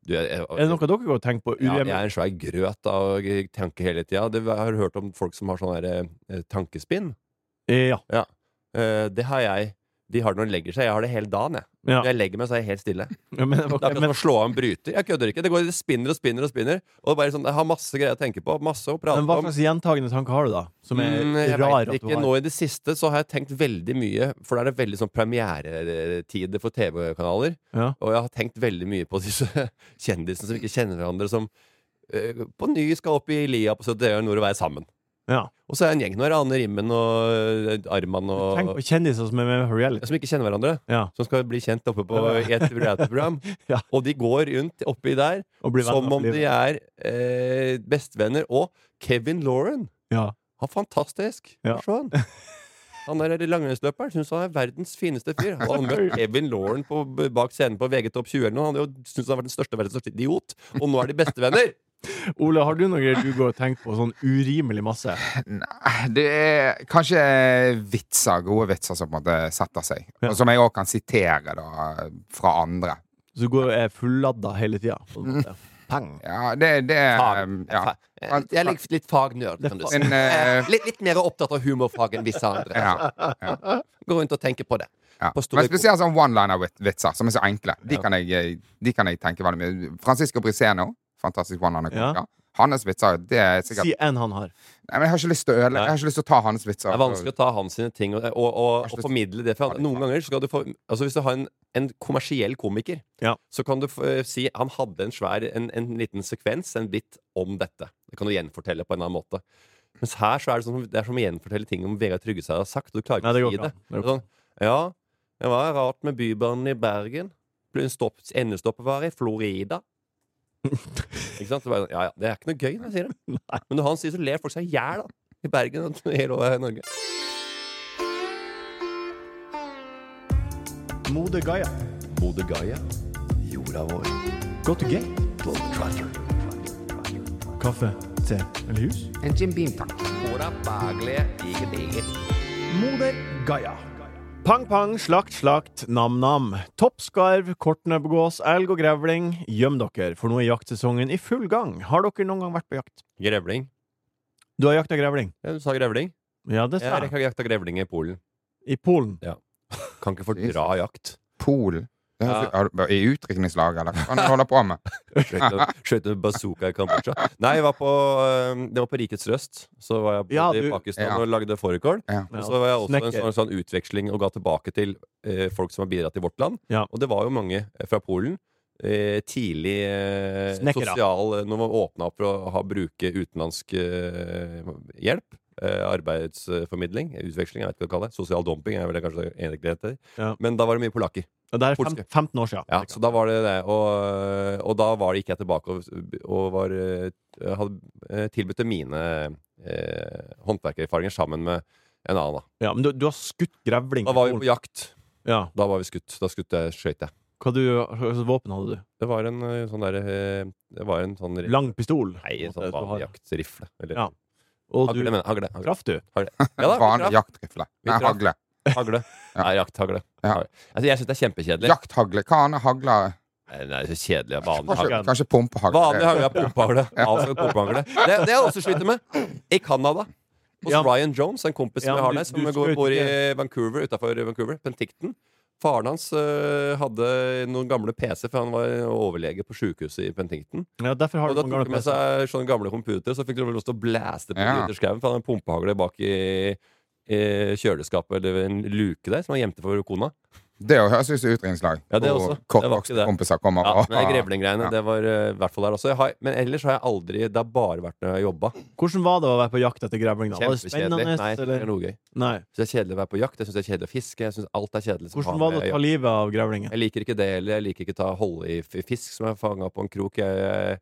[SPEAKER 5] du, jeg, jeg,
[SPEAKER 2] Er det noe dere går og tenker på?
[SPEAKER 5] ja,
[SPEAKER 2] Urem-
[SPEAKER 5] jeg er en svær grøt av tanker hele tida. Jeg har hørt om folk som har sånn der, eh, tankespinn.
[SPEAKER 2] ja.
[SPEAKER 5] Eh, det har jeg. De har det når de legger seg. Jeg har det hele dagen. jeg.
[SPEAKER 2] ja.
[SPEAKER 5] Når jeg legger meg, så er jeg helt stille.
[SPEAKER 2] ja men,
[SPEAKER 5] Det er
[SPEAKER 2] ok,
[SPEAKER 5] akkurat som
[SPEAKER 2] men,
[SPEAKER 5] å slå av en bryter. Jeg kødder ikke. Det går det spinner og spinner og spinner. Og det er bare sånn, Jeg har masse greier å tenke på. Masse å prate
[SPEAKER 2] men hva
[SPEAKER 5] om.
[SPEAKER 2] slags gjentagende tanker har du, da? Som er
[SPEAKER 5] Mm, jeg
[SPEAKER 2] rar
[SPEAKER 5] vet
[SPEAKER 2] at du
[SPEAKER 5] ikke.
[SPEAKER 2] har?
[SPEAKER 5] Nå i det siste så har jeg tenkt veldig mye, for da er det veldig sånn premieretider for TV-kanaler.
[SPEAKER 2] Ja.
[SPEAKER 5] Og jeg har tenkt veldig mye på disse [laughs] kjendisene som ikke kjenner hverandre, som eh, på ny skal opp i lia på 71 nord og være sammen.
[SPEAKER 2] Ja.
[SPEAKER 5] Og så er det en gjeng nå, er det Ane Rimmen og eh, Arman
[SPEAKER 2] Tenk
[SPEAKER 5] og
[SPEAKER 2] på kjendiser som er med på reality.
[SPEAKER 5] Som ikke kjenner hverandre.
[SPEAKER 2] Ja.
[SPEAKER 5] Som skal bli kjent oppe på i et reality-program.
[SPEAKER 2] [laughs] Ja.
[SPEAKER 5] Og de går rundt oppi der
[SPEAKER 2] Og blir venner
[SPEAKER 5] som
[SPEAKER 2] for
[SPEAKER 5] om de
[SPEAKER 2] livet.
[SPEAKER 5] er eh, bestevenner. Og Kevin Lauren.
[SPEAKER 2] Ja.
[SPEAKER 5] Han er fantastisk.
[SPEAKER 2] Ja.
[SPEAKER 5] Se han.
[SPEAKER 2] [laughs]
[SPEAKER 5] Han der langrennsløperen syns han er verdens fineste fyr. Hadde han møtt Kevin Lauren på, bak scenen på VG Topp 20 eller noe, han hadde jo syntes han var den største verdens største idiot. Og nå er de bestevenner!
[SPEAKER 2] Ole, har du noe greier du går og tenker på sånn urimelig masse?
[SPEAKER 4] Nei, eh, det er kanskje vitser, gode vitser, som på en måte setter seg.
[SPEAKER 2] Ja.
[SPEAKER 4] Og som jeg òg kan sitere da, fra andre.
[SPEAKER 2] Så du går og er fulladda hele tida? på en
[SPEAKER 5] Mm.
[SPEAKER 2] måte. Pang.
[SPEAKER 4] Ja, det, det
[SPEAKER 5] Fag.
[SPEAKER 4] [laughs] um, ja.
[SPEAKER 5] Fa- eh, Jeg er litt, litt fagnerd, kan du si.
[SPEAKER 4] En,
[SPEAKER 5] [laughs]
[SPEAKER 4] eh,
[SPEAKER 5] Litt, litt mer opptatt av humorfag enn visse andre.
[SPEAKER 4] [laughs] ja,
[SPEAKER 5] Gå rundt og tenke på det.
[SPEAKER 4] ja.
[SPEAKER 5] På store
[SPEAKER 4] Men spesielt sånn one-liner-vitser, som er så enkle. De kan jeg, eh, de kan jeg tenke veldig mye Francisco Briseno, fantastisk one-liner-komiker. Hans vitser det er sikkert
[SPEAKER 2] Si en han har.
[SPEAKER 4] Nei, men Jeg har ikke lyst til å ødele Jeg har ikke lyst til å ta hans vitser.
[SPEAKER 5] Det er vanskelig å ta hans sine ting og, og, og, og formidle det. For han, noen ganger skal du få Altså Hvis du har en, en kommersiell komiker,
[SPEAKER 2] Ja.
[SPEAKER 5] så kan du få, eh, si han hadde en svær en, en liten sekvens, en bit, om dette. Det kan du gjenfortelle på en annen måte. Mens her så er det, sånn, det er som å gjenfortelle ting om Vegard Tryggeseid har sagt. Og du klarer
[SPEAKER 2] Nei, det
[SPEAKER 5] ikke å
[SPEAKER 2] går
[SPEAKER 5] si
[SPEAKER 2] ikke
[SPEAKER 5] det.
[SPEAKER 2] an. Det går
[SPEAKER 5] Det er sånn, ja, det var rart med Bybanen i Bergen. Ble en stopp, endestoppet var i Florida.
[SPEAKER 2] [laughs]
[SPEAKER 5] ikke sant? Så bare, sånn, ja, ja, det er ikke noe gøy, når jeg sier det. Men når han sier det, så ler folk seg i hjel da, i Bergen og hele over Norge.
[SPEAKER 2] Mode Gaia.
[SPEAKER 5] Bodø Gaia. Jorda vår.
[SPEAKER 2] Go to gate. Kaffe, te eller hus?
[SPEAKER 4] En Jim Beam-tanke.
[SPEAKER 3] E
[SPEAKER 5] Jorda baglige, ikke digger.
[SPEAKER 2] Moder Gaia. Pang, pang, slakt, slakt, nam-nam. Toppskarv, kortnebbgås, elg og grevling. Gjem dere, for nå er jaktsesongen i full gang. Har dere noen gang vært på jakt?
[SPEAKER 5] Grevling.
[SPEAKER 2] Du har jakta grevling?
[SPEAKER 5] Ja, du sa grevling.
[SPEAKER 2] Ja, det sa
[SPEAKER 5] Jeg
[SPEAKER 2] jeg.
[SPEAKER 5] har jakta grevling i Polen.
[SPEAKER 2] I Polen.
[SPEAKER 5] Kan ikke fordra jakt.
[SPEAKER 4] Pol. Det høres
[SPEAKER 5] Ja.
[SPEAKER 4] ut- har du- I utrykningslaget,
[SPEAKER 5] [laughs]
[SPEAKER 4] eller hva er det du holder på med?
[SPEAKER 2] [laughs]
[SPEAKER 5] Skjøt med- Skjøt med bazooka i Kambodsja. Nei, jeg var på, eh, det var på Rikets Røst. Så var jeg både
[SPEAKER 2] Ja,
[SPEAKER 5] i
[SPEAKER 2] du-
[SPEAKER 5] Pakistan
[SPEAKER 4] Ja.
[SPEAKER 5] og lagde fårikål.
[SPEAKER 4] Ja.
[SPEAKER 5] Og så var jeg også en
[SPEAKER 2] Snekker.
[SPEAKER 5] sånn, sånn utveksling og ga tilbake til eh, folk som har bidratt i vårt land.
[SPEAKER 2] Ja.
[SPEAKER 5] Og det var jo mange eh, fra Polen. Eh, tidlig eh,
[SPEAKER 2] Snekkere.
[SPEAKER 5] sosial eh, Når man åpna opp for å ha, bruke utenlandsk eh, hjelp. Eh, arbeidsformidling. Utveksling, jeg vet ikke hva det kalles. Sosial dumping er vel det kanskje det egentlig det heter.
[SPEAKER 2] Ja.
[SPEAKER 5] Men da var det mye polakker.
[SPEAKER 2] Og Det er fem,
[SPEAKER 5] Polske.
[SPEAKER 2] 15 år siden.
[SPEAKER 5] Ja, så da var det det. Og, eh, og da var det, gikk jeg tilbake og, og var, eh, hadde eh, tilbudt det mine eh, håndverkererfaringer sammen med en annen. Da
[SPEAKER 2] Ja, men du, du har skutt grevling?
[SPEAKER 5] Da var vi på jakt.
[SPEAKER 2] Ja.
[SPEAKER 5] Da var vi skutt. Da skutt jeg, skjøt jeg.
[SPEAKER 2] Hva du, hva slags våpen hadde du?
[SPEAKER 5] Det var en eh, sånn derre Det var en sånn
[SPEAKER 2] Lang pistol?
[SPEAKER 5] Nei, en
[SPEAKER 2] Du
[SPEAKER 5] sånn
[SPEAKER 2] har-
[SPEAKER 5] vanlig jaktrifle. Eller
[SPEAKER 2] Ja. Og
[SPEAKER 5] hagle,
[SPEAKER 2] du
[SPEAKER 5] men hagle.
[SPEAKER 2] [laughs]
[SPEAKER 5] hagle.
[SPEAKER 2] traff, du?
[SPEAKER 5] Ja da,
[SPEAKER 4] Vanlig
[SPEAKER 5] traff.
[SPEAKER 4] jaktrifle. Nei,
[SPEAKER 5] traff.
[SPEAKER 4] hagle.
[SPEAKER 5] hagle.
[SPEAKER 4] Ja.
[SPEAKER 5] Nei, jakthagle.
[SPEAKER 4] Ja.
[SPEAKER 5] Hagle. Altså, jeg syns det er kjempekjedelig.
[SPEAKER 4] Jakthagle. Hva annet hagle?
[SPEAKER 5] Nei, det er så kjedelig. Vanlig hagle.
[SPEAKER 4] Kanskje, kanskje pumpehagle.
[SPEAKER 5] Vanlig hagle er pumpehagle. Avsagt pumpehagle. Det, det har jeg også slitt med. I Canada. Hos
[SPEAKER 2] Ja.
[SPEAKER 5] Ryan Jones, en kompis
[SPEAKER 2] Ja,
[SPEAKER 5] som jeg
[SPEAKER 2] men
[SPEAKER 5] har
[SPEAKER 2] du-
[SPEAKER 5] der, som
[SPEAKER 2] du
[SPEAKER 5] går,
[SPEAKER 2] skal
[SPEAKER 5] bor i
[SPEAKER 2] ikke-
[SPEAKER 5] Vancouver, utafor Vancouver, Penticton. Faren hans øh, hadde noen gamle PC, for han var overlege på sjukehuset i Penticton.
[SPEAKER 2] Ja, derfor har
[SPEAKER 5] Og
[SPEAKER 2] du
[SPEAKER 5] da
[SPEAKER 2] noen
[SPEAKER 5] tok
[SPEAKER 2] gamle
[SPEAKER 5] han med
[SPEAKER 2] PC.
[SPEAKER 5] seg sånne gamle computere, så fikk de lov til å blæste på
[SPEAKER 4] Ja.
[SPEAKER 5] skauen, for han hadde en pumpehagle bak i, i kjøleskapet, eller en luke der, som han gjemte for kona.
[SPEAKER 4] Det høres ut som utrykningslag.
[SPEAKER 5] Ja, det
[SPEAKER 4] hvor
[SPEAKER 5] også. Det var ikke
[SPEAKER 4] Kortvokste
[SPEAKER 5] det.
[SPEAKER 4] kompiser kommer
[SPEAKER 5] Ja,
[SPEAKER 4] og
[SPEAKER 5] men de grevlinggreiene,
[SPEAKER 4] Ja.
[SPEAKER 5] det var øh, i hvert fall der også. Jeg har, men ellers har jeg aldri Det har bare vært når jeg har jobba.
[SPEAKER 2] Hvordan var det å være på jakt etter grevling? da? Var det
[SPEAKER 5] Kjempekjedelig.
[SPEAKER 2] spennende?
[SPEAKER 5] Nei, det er
[SPEAKER 2] eller?
[SPEAKER 5] noe gøy.
[SPEAKER 2] Nei.
[SPEAKER 5] Jeg synes det er kjedelig å være på jakt, jeg synes det er kjedelig å fiske. Jeg synes alt er kjedelig som
[SPEAKER 2] Hvordan
[SPEAKER 5] har
[SPEAKER 2] var
[SPEAKER 5] med
[SPEAKER 2] det å ta
[SPEAKER 5] jakt.
[SPEAKER 2] livet av grevlingen?
[SPEAKER 5] Jeg liker ikke det heller. Jeg liker ikke ta holde i f- fisk som er fanga på en krok. Jeg, jeg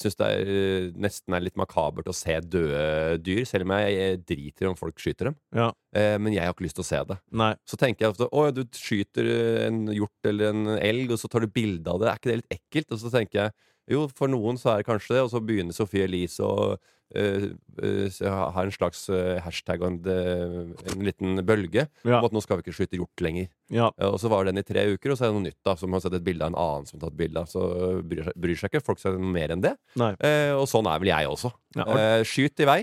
[SPEAKER 5] syns det er, eh, nesten er litt makabert å se døde dyr, selv om jeg, eh, driter i om folk skyter dem.
[SPEAKER 2] Ja.
[SPEAKER 5] Eh, men jeg har ikke lyst til å se det.
[SPEAKER 2] Nei.
[SPEAKER 5] Så tenker jeg ofte å ja, du skyter eh, en hjort eller en elg, og så tar du bilde av det. Er ikke det litt ekkelt? Og så tenker jeg jo, for noen så er det kanskje det, og så begynner Sophie Elise å eh, eh, s- ha ha en slags eh, hashtag og en, eh, en liten bølge
[SPEAKER 2] Ja.
[SPEAKER 5] om at nå skal vi ikke skyte hjort lenger.
[SPEAKER 2] Ja.
[SPEAKER 5] Eh, Og så var den i tre uker, og så er det noe nytt, da. Som har sett et bilde av en annen som har tatt bilde av. Så eh, bryr seg, bryr seg ikke folk seg noe mer enn det.
[SPEAKER 2] Nei.
[SPEAKER 5] Eh, og sånn er vel jeg også.
[SPEAKER 2] Ja, har,
[SPEAKER 5] Eh, skyt i vei.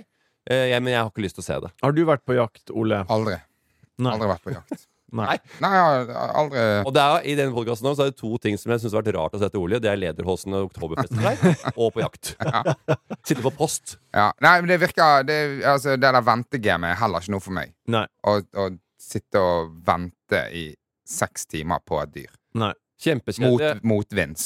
[SPEAKER 5] Eh, jeg, men jeg har ikke lyst til å se det.
[SPEAKER 2] har du vært på jakt, Ole?
[SPEAKER 4] Aldri.
[SPEAKER 2] Nei.
[SPEAKER 4] Aldri vært på jakt.
[SPEAKER 2] Nei.
[SPEAKER 4] Nei, jeg har aldri
[SPEAKER 5] Og det er, I denne podkasten er det to ting som jeg syns har vært rart å se til Ole. Det er lederhosen og oktoberfesten
[SPEAKER 4] [laughs]
[SPEAKER 5] der, og på jakt. Sitte på post.
[SPEAKER 4] ja. Nei, men det virker Det, altså, det der ventegamet er heller ikke noe for meg.
[SPEAKER 2] Nei.
[SPEAKER 4] Å å sitte og vente i seks timer på et dyr.
[SPEAKER 2] Nei.
[SPEAKER 4] Mot,
[SPEAKER 5] Kjempekjedelig.
[SPEAKER 4] motvinds.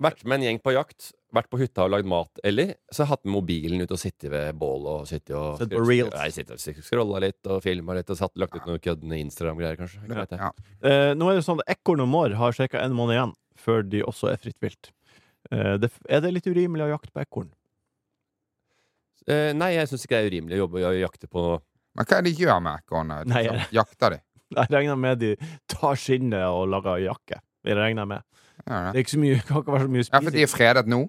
[SPEAKER 5] Vært med en gjeng på jakt. Vært på hytta og lagd mat, eller så har jeg hatt med mobilen ut og sittet ved bålet og sittet og
[SPEAKER 2] Sett på reels.
[SPEAKER 5] Nei, sittet og scrolla litt og filma litt og satt, lagt ut noen køddende Instagram-greier, kanskje. Ikke vet jeg.
[SPEAKER 4] Ja.
[SPEAKER 2] Eh, nå er det sånn at Ekorn og mår har ca. en måned igjen før de også er fritt vilt. Eh, det, er det litt urimelig å jakte på ekorn? [laughs]
[SPEAKER 5] Eh, nei, jeg syns ikke det er urimelig å jobbe og jakte på
[SPEAKER 4] Men hva er det de gjør med ekornet?
[SPEAKER 2] Nei,
[SPEAKER 4] Liksom, jakter de?
[SPEAKER 2] Jeg regner med de tar skinnet og lager jakke. Det regner jeg med.
[SPEAKER 4] Ja,
[SPEAKER 2] Det
[SPEAKER 4] ja.
[SPEAKER 2] er ikke så mye, [laughs] kan ikke være så mye
[SPEAKER 4] ja, for de
[SPEAKER 2] spising.
[SPEAKER 4] er fredet nå?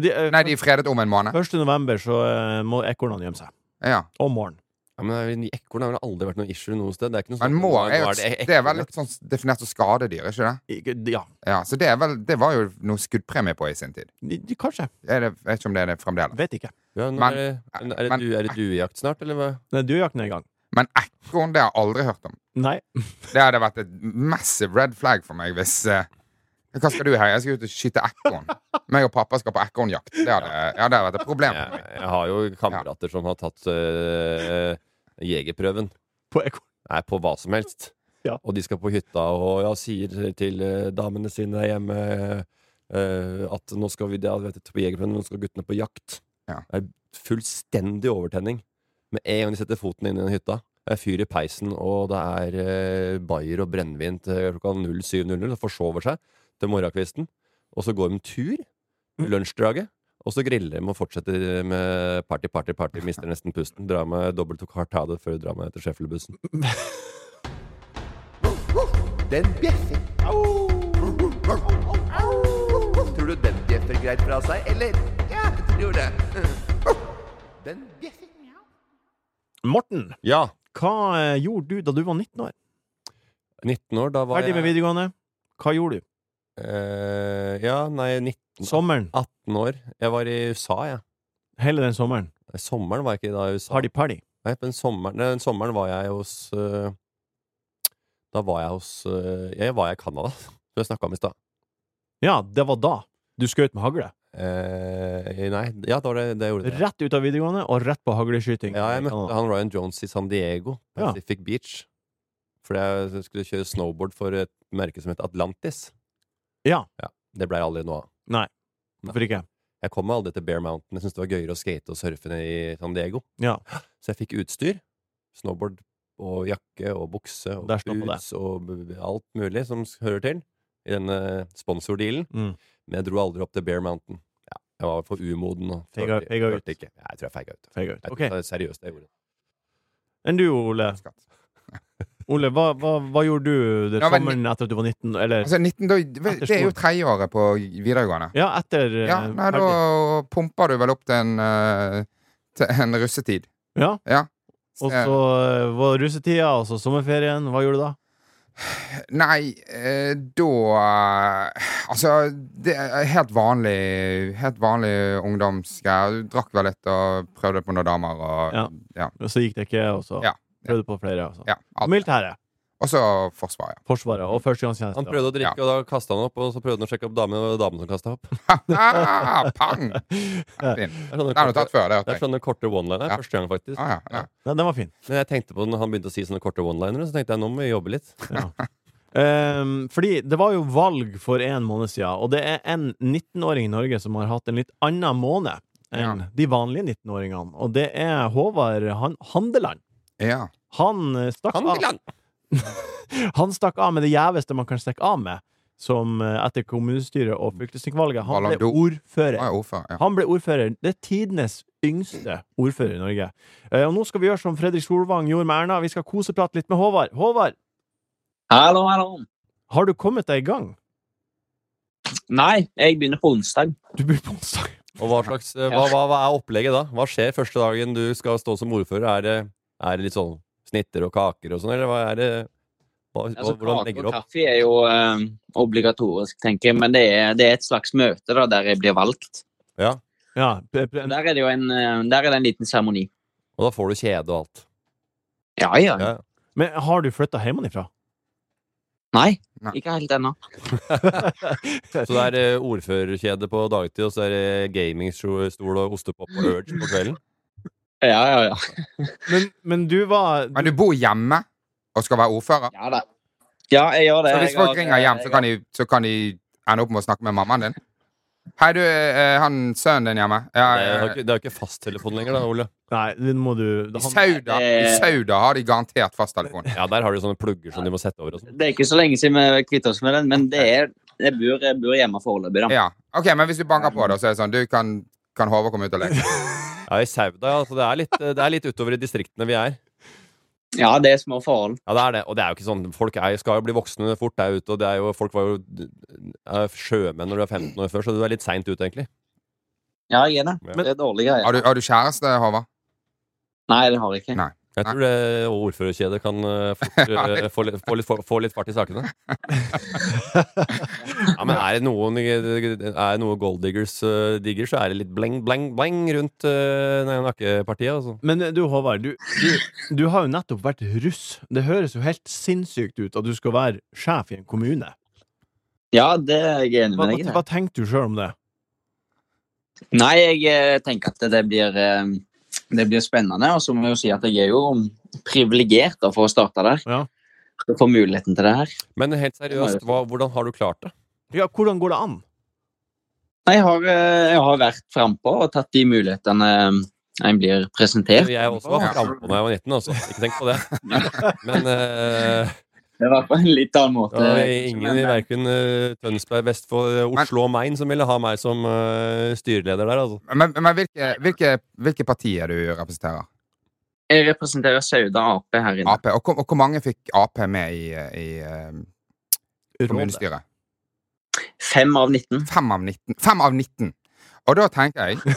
[SPEAKER 2] De, eh,
[SPEAKER 4] Nei, de er fredet om en måned.
[SPEAKER 2] 1. november så eh, må ekornene gjemme seg.
[SPEAKER 4] Ja.
[SPEAKER 2] Om morgenen.
[SPEAKER 5] ja, men Ekorn har vel aldri vært noe issue noe sted. Det er ikke noe
[SPEAKER 4] Men
[SPEAKER 5] snakk om
[SPEAKER 4] må
[SPEAKER 5] nå
[SPEAKER 4] er
[SPEAKER 5] er
[SPEAKER 4] jo et,
[SPEAKER 5] ek-
[SPEAKER 4] Det er vel
[SPEAKER 5] ekornjakt.
[SPEAKER 4] litt sånn definert som skadedyr, er ikke det?
[SPEAKER 2] Ikke- Ja,
[SPEAKER 4] Ja, Så det, er vel, det var jo noe skuddpremie på i sin tid.
[SPEAKER 2] de, de, kanskje.
[SPEAKER 4] Jeg vet ikke om det er det fremdeles.
[SPEAKER 2] Vet ikke.
[SPEAKER 5] Ja, nå
[SPEAKER 4] Men-
[SPEAKER 5] er, det, er, det
[SPEAKER 4] men-
[SPEAKER 5] du, er det duejakt snart, eller hva?
[SPEAKER 2] Nei, Duejakten er i gang.
[SPEAKER 4] Men ekorn, det har jeg aldri hørt om.
[SPEAKER 2] Nei. [laughs]
[SPEAKER 4] Det hadde vært et massive red flag for meg hvis eh, Hva skal du her? Jeg skal ut og skyte ekorn. Meg og pappa skal på ekornjakt. Det hadde, ja, det hadde vært et problem. for
[SPEAKER 5] Jeg,
[SPEAKER 4] meg.
[SPEAKER 5] jeg har jo kamerater som har tatt eh, jegerprøven.
[SPEAKER 2] På ekorn.
[SPEAKER 5] Nei, på hva som helst.
[SPEAKER 2] Ja.
[SPEAKER 5] Og de skal på hytta og ja, sier til eh, damene sine der hjemme eh, at nå skal vi ja, du vet, på jegerprøven, nå skal guttene på jakt.
[SPEAKER 4] Ja.
[SPEAKER 5] Det er fullstendig overtenning. Med en gang de setter foten inn i den hytta, det er fyr i peisen, og det er eh, bayer og brennevin til klokka 07.00, og forsover seg til morgenkvisten. Og så går de tur lunsjdraget. Og så griller de og fortsetter med party, party, party. Mister nesten pusten. Drar med dobbelt og kvart av det før de drar med til Schæffelbussen.
[SPEAKER 6] Den bjeffer. Tror du den bjeffer greit fra seg, eller? Ja, jeg tror det. Den bjeffer.
[SPEAKER 2] Morten,
[SPEAKER 5] Ja.
[SPEAKER 2] hva eh, gjorde du da du var 19 år?
[SPEAKER 5] 19 år, da var
[SPEAKER 2] Ferdig med
[SPEAKER 5] jeg
[SPEAKER 2] videregående. Hva gjorde du?
[SPEAKER 5] eh, Ja, nei, 19
[SPEAKER 2] Sommeren.
[SPEAKER 5] 18 år. Jeg var i USA, jeg.
[SPEAKER 2] Hele den sommeren.
[SPEAKER 5] Nei, Sommeren var jeg ikke da i USA.
[SPEAKER 2] Party-party.
[SPEAKER 5] Nei, men sommeren, nei, den sommeren var jeg hos øh, Da var jeg hos øh, Jeg var i Canada, [laughs] som jeg snakka om i stad.
[SPEAKER 2] Ja, det var da. Du skjøt med hagle.
[SPEAKER 5] Eh, nei, ja, det var det, det jeg gjorde. Det.
[SPEAKER 2] Rett ut av videregående og rett på hagleskyting.
[SPEAKER 5] Ja, jeg møtte han Ryan Jones i San Diego,
[SPEAKER 2] Ja.
[SPEAKER 5] Pacific Beach. Fordi jeg skulle kjøre snowboard for et merke som het Atlantis.
[SPEAKER 2] Ja.
[SPEAKER 5] Det blei aldri noe av.
[SPEAKER 2] Hvorfor ikke?
[SPEAKER 5] Jeg kom meg aldri til Bear Mountain. Jeg syntes det var gøyere å skate og surfe ned i San Diego.
[SPEAKER 2] Ja.
[SPEAKER 5] Så jeg fikk utstyr. Snowboard og jakke og bukse og
[SPEAKER 2] Der står på
[SPEAKER 5] boots og b- b- alt mulig som s- hører til i denne sponsordealen.
[SPEAKER 2] Mm.
[SPEAKER 5] Men jeg dro aldri opp til Bear Mountain. Ja, jeg var for umoden og
[SPEAKER 2] Feiga-
[SPEAKER 5] tørte-
[SPEAKER 2] feiga ut.
[SPEAKER 5] tørte ikke. Ja, jeg tror jeg feiga ut.
[SPEAKER 2] Feiga ut.
[SPEAKER 5] Jeg,
[SPEAKER 2] Ok.
[SPEAKER 5] tror- Seriøst, jeg gjorde det.
[SPEAKER 2] Enn du, Ole?
[SPEAKER 4] Skatt.
[SPEAKER 2] Ole, hva, hva, hva gjorde du den
[SPEAKER 4] Ja, men-
[SPEAKER 2] sommeren etter at du var 19? Eller
[SPEAKER 4] Altså, 19, da, det er jo tredjeåret på videregående.
[SPEAKER 2] ja, etter eh,
[SPEAKER 4] Ja, nei, da
[SPEAKER 2] ferdig.
[SPEAKER 4] pumper du vel opp til en, eh, til en russetid.
[SPEAKER 2] ja.
[SPEAKER 4] Ja.
[SPEAKER 2] Og så eh, var russetida, og så sommerferien. Hva gjorde du da?
[SPEAKER 4] Nei, eh, da Altså, det er helt vanlig Helt vanlig ungdomsgreier. Du Drakk vel litt og prøvde på noen damer og
[SPEAKER 2] Ja.
[SPEAKER 4] Ja.
[SPEAKER 2] Og så gikk det ikke, og så
[SPEAKER 4] Ja, ja.
[SPEAKER 2] prøvde på flere. Og så.
[SPEAKER 4] ja, alt.
[SPEAKER 2] Militæret,
[SPEAKER 4] Og så Forsvaret.
[SPEAKER 2] Forsvaret og førstegangstjeneste.
[SPEAKER 5] Han prøvde å drikke, og da kasta han opp. Og så prøvde han å sjekke opp damene, og det var damen som
[SPEAKER 4] [laughs]
[SPEAKER 5] kasta opp. Det
[SPEAKER 4] Ah, pang!
[SPEAKER 5] er
[SPEAKER 4] Fin.
[SPEAKER 5] sånne
[SPEAKER 4] Den har du
[SPEAKER 5] korte-
[SPEAKER 4] tatt før, det.
[SPEAKER 5] det er
[SPEAKER 4] hørte jeg.
[SPEAKER 5] sånne korte one-liner.
[SPEAKER 4] Ja.
[SPEAKER 5] Første gang, faktisk.
[SPEAKER 4] Ah, ja, ja.
[SPEAKER 2] Ja, den var fin.
[SPEAKER 5] Men jeg tenkte på når han begynte å si sånne korte one-linere, så tenkte jeg nå må vi jobbe litt.
[SPEAKER 2] [laughs] Ehm, fordi det var jo valg for en måned siden, og det er en 19-åring i Norge som har hatt en litt annen måned enn
[SPEAKER 4] Ja.
[SPEAKER 2] de vanlige 19-åringene, og det er Håvard Han Handeland.
[SPEAKER 4] ja.
[SPEAKER 2] Han eh, stakk
[SPEAKER 5] Han vil
[SPEAKER 2] av.
[SPEAKER 5] han!
[SPEAKER 2] [laughs] Han stakk av med det gjeveste man kan stikke av med, som eh, etter kommunestyret og fylkestingvalget. Han ble
[SPEAKER 4] Vallandou.
[SPEAKER 2] ordfører.
[SPEAKER 4] Ah, ja, ordfører. Ja.
[SPEAKER 2] Han ble ordfører. Det er tidenes yngste ordfører i Norge. Eh, Og nå skal vi gjøre som Fredrik Solvang gjorde med Erna. Vi skal koseprate litt med Håvard. Håvard,
[SPEAKER 7] Hallo, hallo.
[SPEAKER 2] har du kommet deg i gang?
[SPEAKER 7] Nei, jeg begynner på onsdag.
[SPEAKER 2] Du blir på onsdag.
[SPEAKER 5] Og hva, slags, eh, hva, hva, hva er opplegget da? Hva skjer første dagen du skal stå som ordfører? Er det, er det litt sånn snitter og kaker og sånn, eller hva er det? Hva, hva,
[SPEAKER 7] Altså,
[SPEAKER 5] hvordan
[SPEAKER 7] Kake
[SPEAKER 5] legger
[SPEAKER 7] og
[SPEAKER 5] du opp?
[SPEAKER 7] kaffe er jo eh, obligatorisk, tenker jeg, men det er, det er et slags møte da, der jeg blir valgt.
[SPEAKER 2] Ja, p- p-
[SPEAKER 7] Der er det jo en, eh, der er det en liten seremoni.
[SPEAKER 5] Og da får du kjede og alt.
[SPEAKER 7] Ja, ja.
[SPEAKER 5] Ja.
[SPEAKER 2] men har du flytta hjemmefra?
[SPEAKER 7] Nei,
[SPEAKER 4] Nei.
[SPEAKER 7] ikke helt ennå.
[SPEAKER 5] Så det er eh, ordførerkjede på dagtid, og så er det gamingstol og ostepop og urge på [laughs] kvelden.
[SPEAKER 7] Ja, ja, ja.
[SPEAKER 2] Men, men du var
[SPEAKER 4] Men du bor hjemme og skal være ordfører?
[SPEAKER 7] Ja da. Ja, jeg gjør det.
[SPEAKER 4] Så hvis
[SPEAKER 7] Jeg
[SPEAKER 4] folk
[SPEAKER 7] har- eh,
[SPEAKER 4] ringer hjem, så
[SPEAKER 7] jeg
[SPEAKER 4] kan, de, så kan de ende opp med å snakke med mammaen din? Hei, du, eh, han sønnen din hjemme ja,
[SPEAKER 5] Det er jo
[SPEAKER 4] eh,
[SPEAKER 5] ikke, det er jo ikke fasttelefon lenger, da, Ole.
[SPEAKER 2] Nei, nå må du
[SPEAKER 4] I
[SPEAKER 2] han,
[SPEAKER 4] Sauda I
[SPEAKER 7] Eh.
[SPEAKER 4] Sauda har de garantert fasttelefon.
[SPEAKER 5] Ja, der har du sånne plugger som de må sette over og sånn.
[SPEAKER 7] Det er ikke så lenge siden vi kvittet oss med den, men det er, jeg, bor, jeg bor hjemme foreløpig, da.
[SPEAKER 4] Ja. OK, men hvis du banker på, da, så er det sånn Du kan, kan Håvard komme ut og leke.
[SPEAKER 5] Ja, i Sauda, ja. Så det er litt, eh, det er litt utover i distriktene vi er.
[SPEAKER 7] Ja, det er små forhold.
[SPEAKER 5] Ja, det er det. Og det er jo ikke sånn Folk er, skal jo bli voksne fort der ute, og det er jo, folk var jo er sjømenn når du er 15 år før, så du er litt seint ute, egentlig.
[SPEAKER 7] Ja, jeg er det.
[SPEAKER 5] Ja.
[SPEAKER 7] Det er dårlige greier.
[SPEAKER 4] Har du, har du kjæreste, Håvard?
[SPEAKER 7] Nei, det har jeg ikke.
[SPEAKER 4] Nei.
[SPEAKER 5] Jeg tror det ordførerkjedet kan eh, fort, eh, få, litt- få, litt, få, få litt fart i sakene. Ja, men er det noen Er det noe gold diggers eh, digger, så er det litt bleng, bleng, bleng rundt eh, nei, nakkepartiet. Altså.
[SPEAKER 2] Men du, Håvard, du, du, du har jo nettopp vært russ. Det høres jo helt sinnssykt ut at du skal være sjef i en kommune.
[SPEAKER 7] Ja, det er jeg enig
[SPEAKER 2] Hva,
[SPEAKER 7] med deg i.
[SPEAKER 2] hva,
[SPEAKER 7] det.
[SPEAKER 2] hva tenkte du sjøl om det?
[SPEAKER 7] Nei, jeg eh, tenker at det blir, eh, det blir spennende. Og så må jeg jo si at jeg er jo privilegert da, for å starte der.
[SPEAKER 2] Ja.
[SPEAKER 7] Å få muligheten til det her.
[SPEAKER 5] Men helt seriøst, hva, hvordan har du klart det?
[SPEAKER 2] Ja, hvordan går det an?
[SPEAKER 7] Nei, Jeg har, eh, jeg har vært frampå og tatt de mulighetene eh, en blir presentert.
[SPEAKER 5] Jeg også var frampå da jeg var 19, altså. Ikke tenk på det. Men eh,
[SPEAKER 7] Det var på en litt annen måte.
[SPEAKER 5] Det var ingen i verken eh, Tønsberg, Vestfold, eh, Oslo og Main som ville ha meg som eh, styreleder der, altså.
[SPEAKER 4] Men, men hvilke, hvilke, hvilke partier du representerer?
[SPEAKER 7] Jeg representerer Sauda Ap her inne.
[SPEAKER 4] Ap. Og, hvor- og hvor mange fikk Ap med i, i eh, kommunestyret?
[SPEAKER 7] Fem av 19.
[SPEAKER 4] Fem av 19. Fem av 19. Og da tenker jeg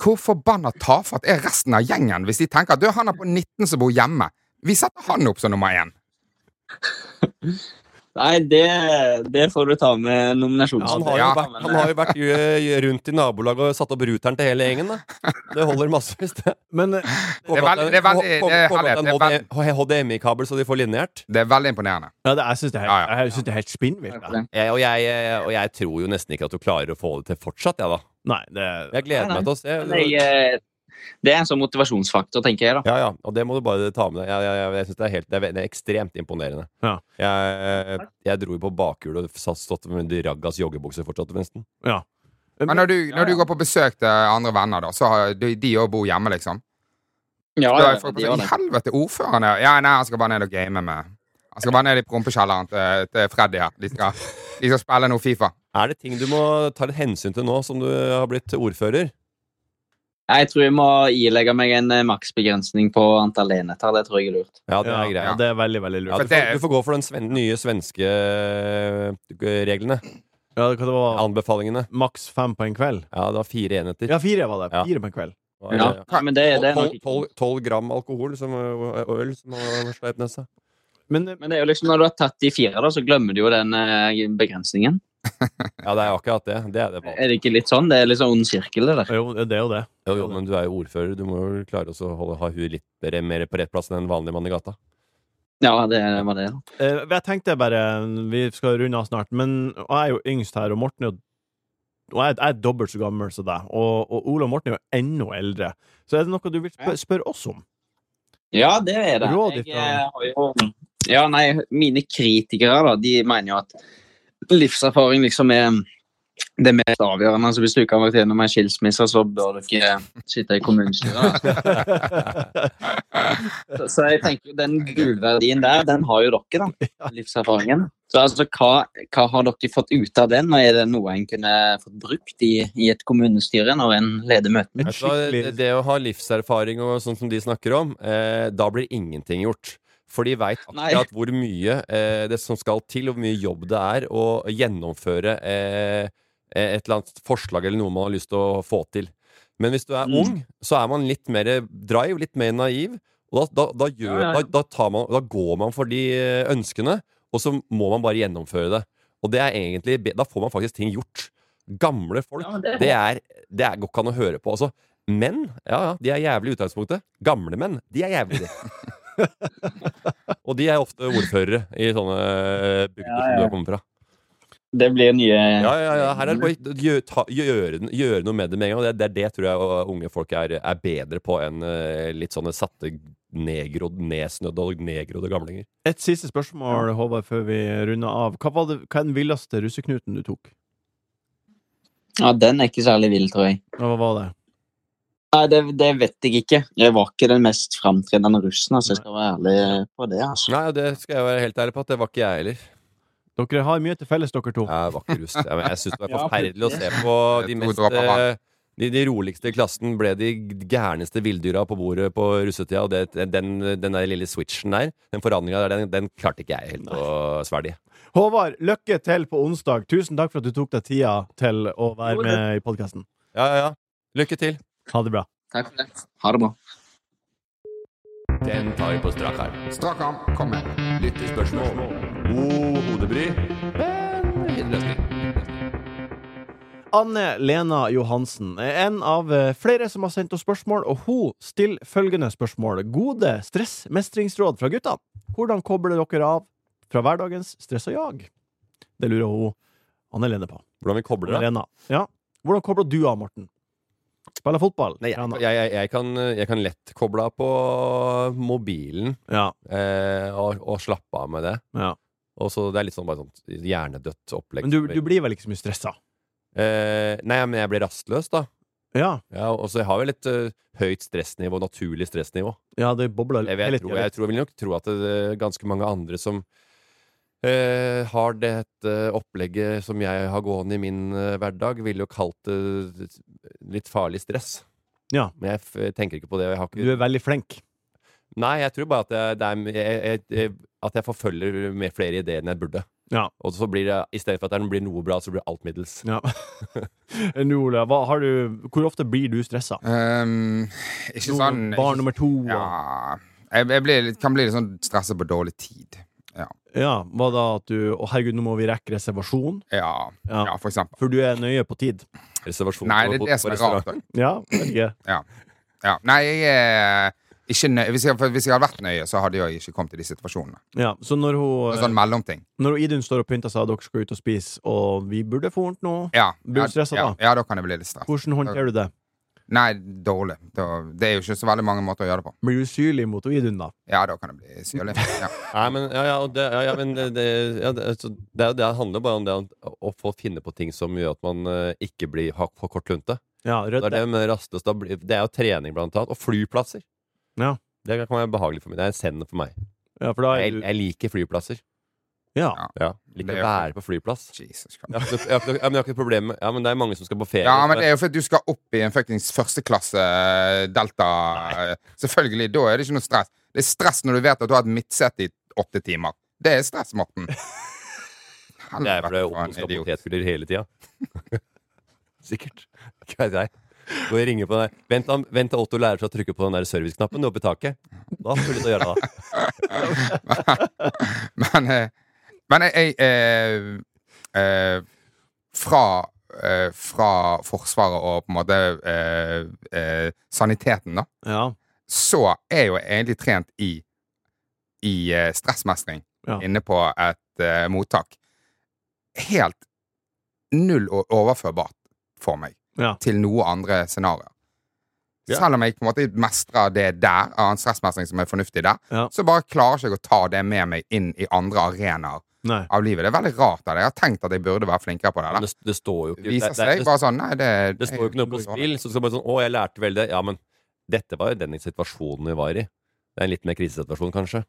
[SPEAKER 4] Hvor forbanna tafatt er resten av gjengen hvis de tenker at du, han er på 19 som bor hjemme? Vi setter han opp som nummer én.
[SPEAKER 7] Nei, det, det får du ta med
[SPEAKER 5] Han
[SPEAKER 7] nominasjonen.
[SPEAKER 5] har, jo
[SPEAKER 4] Ja.
[SPEAKER 5] vært, han har jo vært eh, rundt i nabolaget og satt opp ruteren til hele gjengen. Da. Det holder massevis, det.
[SPEAKER 2] Men eh,
[SPEAKER 4] er veldig- det er veldig- det er-
[SPEAKER 5] Håper at det
[SPEAKER 4] det er
[SPEAKER 5] er en HDMI-kabel, så de får lineært.
[SPEAKER 4] Det er veldig imponerende.
[SPEAKER 2] ja, det, jeg syns det, er
[SPEAKER 4] Ja,
[SPEAKER 2] helt-
[SPEAKER 4] ja.
[SPEAKER 2] jeg synes det er helt spinnvilt. da.
[SPEAKER 5] Jeg, og, jeg, eh, og jeg tror jo nesten ikke at du klarer å få det til fortsatt, jeg, da.
[SPEAKER 2] Nei, det
[SPEAKER 5] Jeg gleder
[SPEAKER 7] Nei, nei.
[SPEAKER 5] meg til å se.
[SPEAKER 7] Men jeg, eh, Det er en sånn motivasjonsfaktor, tenker jeg. da.
[SPEAKER 5] Ja, ja, og det må du bare ta med deg. Jeg, jeg, jeg, jeg synes det, er helt- det er veldig- ekstremt imponerende.
[SPEAKER 2] Ja.
[SPEAKER 5] Jeg, jeg dro jo på bakhjulet og satt stått med de raggas joggebukser fortsatt. Nesten.
[SPEAKER 2] Ja.
[SPEAKER 4] Men når du, når du går på besøk til andre venner, da, så har de de òg bor hjemme, liksom.
[SPEAKER 7] Ja,
[SPEAKER 4] Da
[SPEAKER 7] ja,
[SPEAKER 4] er folk
[SPEAKER 7] det
[SPEAKER 4] på sånn,
[SPEAKER 7] gjør
[SPEAKER 4] I
[SPEAKER 7] det.
[SPEAKER 4] helvete, ordføreren er Ja, nei, han skal bare ned og game med Han skal bare ned i prompekjelleren til, til Freddy her. De skal, de skal spille noe Fifa.
[SPEAKER 5] Er det ting du må ta litt hensyn til nå som du har blitt ordfører?
[SPEAKER 7] Jeg tror jeg må ilegge meg en eh, maksbegrensning på antall enheter. Det tror jeg er lurt.
[SPEAKER 5] Ja, det er
[SPEAKER 2] ja,
[SPEAKER 5] greia.
[SPEAKER 2] det er veldig, veldig
[SPEAKER 5] Ja,
[SPEAKER 2] lurt.
[SPEAKER 5] du,
[SPEAKER 4] For det
[SPEAKER 5] får,
[SPEAKER 4] er-
[SPEAKER 5] du får gå for den sven nye svenske eh, reglene.
[SPEAKER 2] Ja, det, hva det var
[SPEAKER 5] Anbefalingene.
[SPEAKER 2] maks fem på en kveld.
[SPEAKER 5] Ja, det var fire enheter.
[SPEAKER 2] Ja, fire var det.
[SPEAKER 5] Ja.
[SPEAKER 2] Fire på en kveld.
[SPEAKER 5] Det var,
[SPEAKER 7] Ja,
[SPEAKER 5] eh,
[SPEAKER 7] men det, det er nok
[SPEAKER 5] tolv- tolv- Tolv gram alkohol som eh, øl som har sleit nesa.
[SPEAKER 2] Men eh,
[SPEAKER 7] Men det er jo liksom når du har tatt de fire, da, så glemmer du jo den eh, begrensningen.
[SPEAKER 5] Ja, det er jo akkurat det. Det er det vanlige.
[SPEAKER 7] Er det ikke litt sånn? Det er litt sånn ond sirkel, det der.
[SPEAKER 2] jo, det er jo det.
[SPEAKER 5] Jo, jo, men du er jo ordfører. Du må jo klare også å holde, ha huet litt mer- mer på rett plass enn en vanlig mann i gata.
[SPEAKER 7] Ja, det var det. da.
[SPEAKER 2] Eh, Jeg tenkte bare Vi skal runde av snart, men og jeg er jo yngst her, og Morten er jo og jeg, jeg er dobbelt så gammel som deg, og, og Ole og Morten er jo enda eldre. Så er det noe du vil spør- spørre oss om?
[SPEAKER 7] Ja, det er det.
[SPEAKER 2] Råd
[SPEAKER 7] Jeg
[SPEAKER 2] ifra-
[SPEAKER 7] eh, har jo Ja, nei, mine kritikere, da, de mener jo at livserfaring liksom er det mest avgjørende. Altså, hvis du ikke har vært gjennom en skilsmisse, så bør du ikke sitte i kommunestyret. da. Så, så jeg tenker jo den gullverdien der, den har jo dere, da. Livserfaringen. Så altså, hva, hva har dere fått ut av den, og er det noe en kunne fått brukt i, i et kommunestyre når en leder møtene?
[SPEAKER 2] En
[SPEAKER 5] Vet du hva, Altså, det,
[SPEAKER 2] skikkelig
[SPEAKER 5] det å ha livserfaring og sånn som de snakker om, eh, da blir ingenting gjort. For de veit
[SPEAKER 7] Nei.
[SPEAKER 5] akkurat hvor mye eh, det som skal til, og hvor mye jobb det er å gjennomføre eh, et eller annet forslag eller noe man har lyst til å få til. Men hvis du er
[SPEAKER 7] Mm.
[SPEAKER 5] ung, så er man litt mer drive, litt mer naiv. Og da, da, da, gjør,
[SPEAKER 7] Ja, ja, ja.
[SPEAKER 5] Da, da, tar man, da går man for de eh, ønskene, og så må man bare gjennomføre det. Og det er egentlig, be- da får man faktisk ting gjort. Gamle folk,
[SPEAKER 7] Ja, men
[SPEAKER 5] det,
[SPEAKER 7] det-
[SPEAKER 5] er, det er, går ikke an å høre på. Altså, menn, ja, ja, de er jævlig i utgangspunktet. Gamle menn, de er jævlige.
[SPEAKER 7] [laughs]
[SPEAKER 5] [laughs] og de er ofte ordførere i sånne eh, bygder
[SPEAKER 7] Ja,
[SPEAKER 5] som du
[SPEAKER 7] ja.
[SPEAKER 5] har kommet fra.
[SPEAKER 7] Det blir nye
[SPEAKER 5] Ja, ja, ja, her er det bare å gjø- ta- gjøre, den- gjøre noe med det med en gang. og Det, det er det tror jeg uh, unge folk er, er bedre på enn eh, litt sånne satte, nedgrodd, nedsnødde og nedgrodde gamlinger.
[SPEAKER 2] Et siste spørsmål, Håvard, før vi runder av. Hva, var det, hva er den villeste russeknuten du tok?
[SPEAKER 7] Ja, den er ikke særlig vill, tror jeg.
[SPEAKER 2] Ja, Hva var det?
[SPEAKER 7] Nei, det, det vet jeg ikke. Jeg var ikke den mest framtredende russen, altså. Jeg skal være ærlig på det. altså.
[SPEAKER 5] Nei, og det skal jeg være helt ærlig på at det var ikke jeg heller.
[SPEAKER 2] Dere har mye til felles, dere to.
[SPEAKER 5] Jeg var ikke rust. Jeg, jeg syns [laughs] det var
[SPEAKER 7] Ja,
[SPEAKER 5] forferdelig å se på de
[SPEAKER 4] To
[SPEAKER 5] mest
[SPEAKER 4] dråper vann.
[SPEAKER 5] eh, de, de roligste i klassen ble de gærneste villdyra på bordet på russetida, og det, den, den der lille switchen der, den forandringa der, den, den klarte ikke jeg helt å svelge.
[SPEAKER 2] Håvard, lykke til på onsdag. Tusen takk for at du tok deg tida til å være med i podkasten.
[SPEAKER 5] Ja, ja, ja. Lykke til.
[SPEAKER 2] Ha det bra.
[SPEAKER 7] Takk for det. Ha det bra.
[SPEAKER 5] Den tar vi på strak arm.
[SPEAKER 4] Strak arm, kom med.
[SPEAKER 5] Lyttespørsmål. God hodebry, men
[SPEAKER 2] Anne Lena Johansen er en av eh, flere som har sendt oss spørsmål, og hun stiller følgende spørsmål. Gode stressmestringsråd fra gutta. Hvordan kobler dere av fra hverdagens stress og jag? Det lurer hun Anne Lene på.
[SPEAKER 5] Hvordan vi kobler
[SPEAKER 2] Anne
[SPEAKER 5] det?
[SPEAKER 2] Lena. Ja. Hvordan kobler du av, Morten? Spiller fotball?
[SPEAKER 5] Nei, jeg,
[SPEAKER 2] Trener?
[SPEAKER 5] jeg, jeg, jeg, kan, jeg kan lett koble av på mobilen
[SPEAKER 2] ja,
[SPEAKER 5] eh, og, og slappe av med det.
[SPEAKER 2] ja.
[SPEAKER 5] Og så Det er litt sånn bare sånn hjernedødt opplegg.
[SPEAKER 2] Men du, du blir vel ikke så mye stressa?
[SPEAKER 5] eh, nei, men jeg blir rastløs, da.
[SPEAKER 2] Ja.
[SPEAKER 5] Ja, og så jeg har jo litt eh, høyt stressnivå, naturlig stressnivå.
[SPEAKER 2] ja, det bobler
[SPEAKER 5] Jeg, vil- jeg, tror, jeg, tror, jeg vil nok tro at det er ganske mange andre som eh, har dette opplegget som jeg har gående i min eh, hverdag, ville jo kalt det litt farlig stress.
[SPEAKER 2] Ja.
[SPEAKER 5] Men jeg f tenker ikke på det. og Jeg har
[SPEAKER 2] Du
[SPEAKER 5] ikke,
[SPEAKER 2] er veldig flink.
[SPEAKER 5] nei, jeg tror bare at jeg, det er, jeg, jeg, jeg, at jeg forfølger med flere ideer enn jeg burde.
[SPEAKER 2] Ja.
[SPEAKER 5] Og så blir det, i stedet for at det blir noe bra, så blir det alt middels.
[SPEAKER 2] Ja. [laughs] Nå, Ole, hva har du, hvor ofte blir du stressa?
[SPEAKER 4] Ehm, ikke sånn
[SPEAKER 2] Barn nummer to? og-
[SPEAKER 4] Ja, jeg, jeg blir, litt- kan bli litt sånn stresset på dårlig tid. Ja.
[SPEAKER 2] Ja, var da at du Å, herregud, nå må vi rekke reservasjon.
[SPEAKER 4] Ja,
[SPEAKER 2] Ja.
[SPEAKER 4] ja for eksempel.
[SPEAKER 2] For du er nøye på tid.
[SPEAKER 5] Reservasjon
[SPEAKER 4] Nei,
[SPEAKER 5] på-
[SPEAKER 4] det er
[SPEAKER 5] på-
[SPEAKER 4] det
[SPEAKER 5] på
[SPEAKER 4] som er
[SPEAKER 5] restaurant.
[SPEAKER 4] rart. da.
[SPEAKER 2] Ja, vet ikke.
[SPEAKER 4] Ja. Nei, jeg er ikke nøye. Hvis jeg, for hvis jeg hadde vært nøye, så hadde jeg ikke kommet i de situasjonene.
[SPEAKER 2] Ja, så når hun,
[SPEAKER 4] En sånn mellomting.
[SPEAKER 2] når hun Idun står og pynter seg, og dere skal ut og spise, og vi burde få ordent nå
[SPEAKER 4] Ja.
[SPEAKER 2] Blir du stresset
[SPEAKER 4] ja,
[SPEAKER 2] da?
[SPEAKER 4] ja, da kan jeg bli litt stress.
[SPEAKER 2] Hvordan håndterer du det?
[SPEAKER 4] Nei, dårlig. Da, det er jo ikke så veldig mange måter å gjøre det på.
[SPEAKER 2] Blir du syrlig mot hun Idun, da?
[SPEAKER 4] Ja, da kan jeg
[SPEAKER 2] [laughs]
[SPEAKER 4] bli syrlig. Ja.
[SPEAKER 5] Nei, men, ja, ja, og det, ja, ja, men det, det- ja, det, altså, det, er jo- det handler bare om det å, å få finne på ting som gjør at man eh, ikke blir, har for kort lunte.
[SPEAKER 2] Ja,
[SPEAKER 5] Det er,
[SPEAKER 2] rødt.
[SPEAKER 5] det, med rastløs, da blir- det er jo trening, blant annet. Og flyplasser.
[SPEAKER 2] Ja.
[SPEAKER 5] Det kan være behagelig for meg. Det er en send for meg.
[SPEAKER 2] Ja, for da er
[SPEAKER 5] Jeg,
[SPEAKER 2] du
[SPEAKER 5] jeg liker flyplasser.
[SPEAKER 2] Ja.
[SPEAKER 5] Ja, liker
[SPEAKER 4] Det
[SPEAKER 5] å være
[SPEAKER 4] er-
[SPEAKER 5] på flyplass.
[SPEAKER 4] Jesus
[SPEAKER 5] Jeg
[SPEAKER 4] Christ.
[SPEAKER 5] har ikke noe- jeg har ikke noe- ja, men jeg har ikke noe problem med Ja, men det er mange som skal på ferie.
[SPEAKER 4] Ja, men det er jo fordi du skal opp i en fuckings førsteklasse eh, Delta. eh, Selvfølgelig. Da er det ikke noe stress. Det er stress når du vet at du har et midtsete i åtte timer. Det er stress,
[SPEAKER 5] [laughs]
[SPEAKER 4] Morten.
[SPEAKER 5] Det er fordi
[SPEAKER 4] Helvete,
[SPEAKER 5] jeg
[SPEAKER 4] for en
[SPEAKER 5] opphosker
[SPEAKER 4] idiot.
[SPEAKER 5] potetguller hele tida. Sikkert. [laughs] Hva vet jeg. Går og ringer på deg. Vent, da- vent til Otto lærer seg å trykke på den der serviceknappen oppe i taket. Da får du til å gjøre det.
[SPEAKER 4] [laughs] Men, eh, men jeg, jeg eh, eh, fra, eh, fra Forsvaret og på en måte eh, eh, saniteten, da,
[SPEAKER 2] Ja.
[SPEAKER 4] så er jo egentlig trent i, i eh, stressmestring
[SPEAKER 2] Ja.
[SPEAKER 4] inne på et eh, mottak. Helt null og overførbart for meg
[SPEAKER 2] Ja.
[SPEAKER 4] til noe andre scenarioer.
[SPEAKER 5] Ja.
[SPEAKER 4] Selv om jeg på en måte mestrer det der, av en stressmestring som er fornuftig der,
[SPEAKER 2] Ja.
[SPEAKER 4] så bare klarer ikke jeg å ta det med meg inn i andre arenaer
[SPEAKER 2] Nei.
[SPEAKER 4] av livet. Det er veldig rart. av det. Jeg har tenkt at jeg burde være flinkere på det.
[SPEAKER 5] Men
[SPEAKER 4] Da.
[SPEAKER 5] Det, det står jo ikke
[SPEAKER 4] Det viser
[SPEAKER 5] det,
[SPEAKER 4] seg
[SPEAKER 5] det,
[SPEAKER 4] bare sånn Nei, det
[SPEAKER 5] det står jo ikke noe på spill. Så skal man sånn Å, jeg lærte vel det. Ja, men dette var jo den situasjonen vi var i. Det er en litt mer krisesituasjon, kanskje.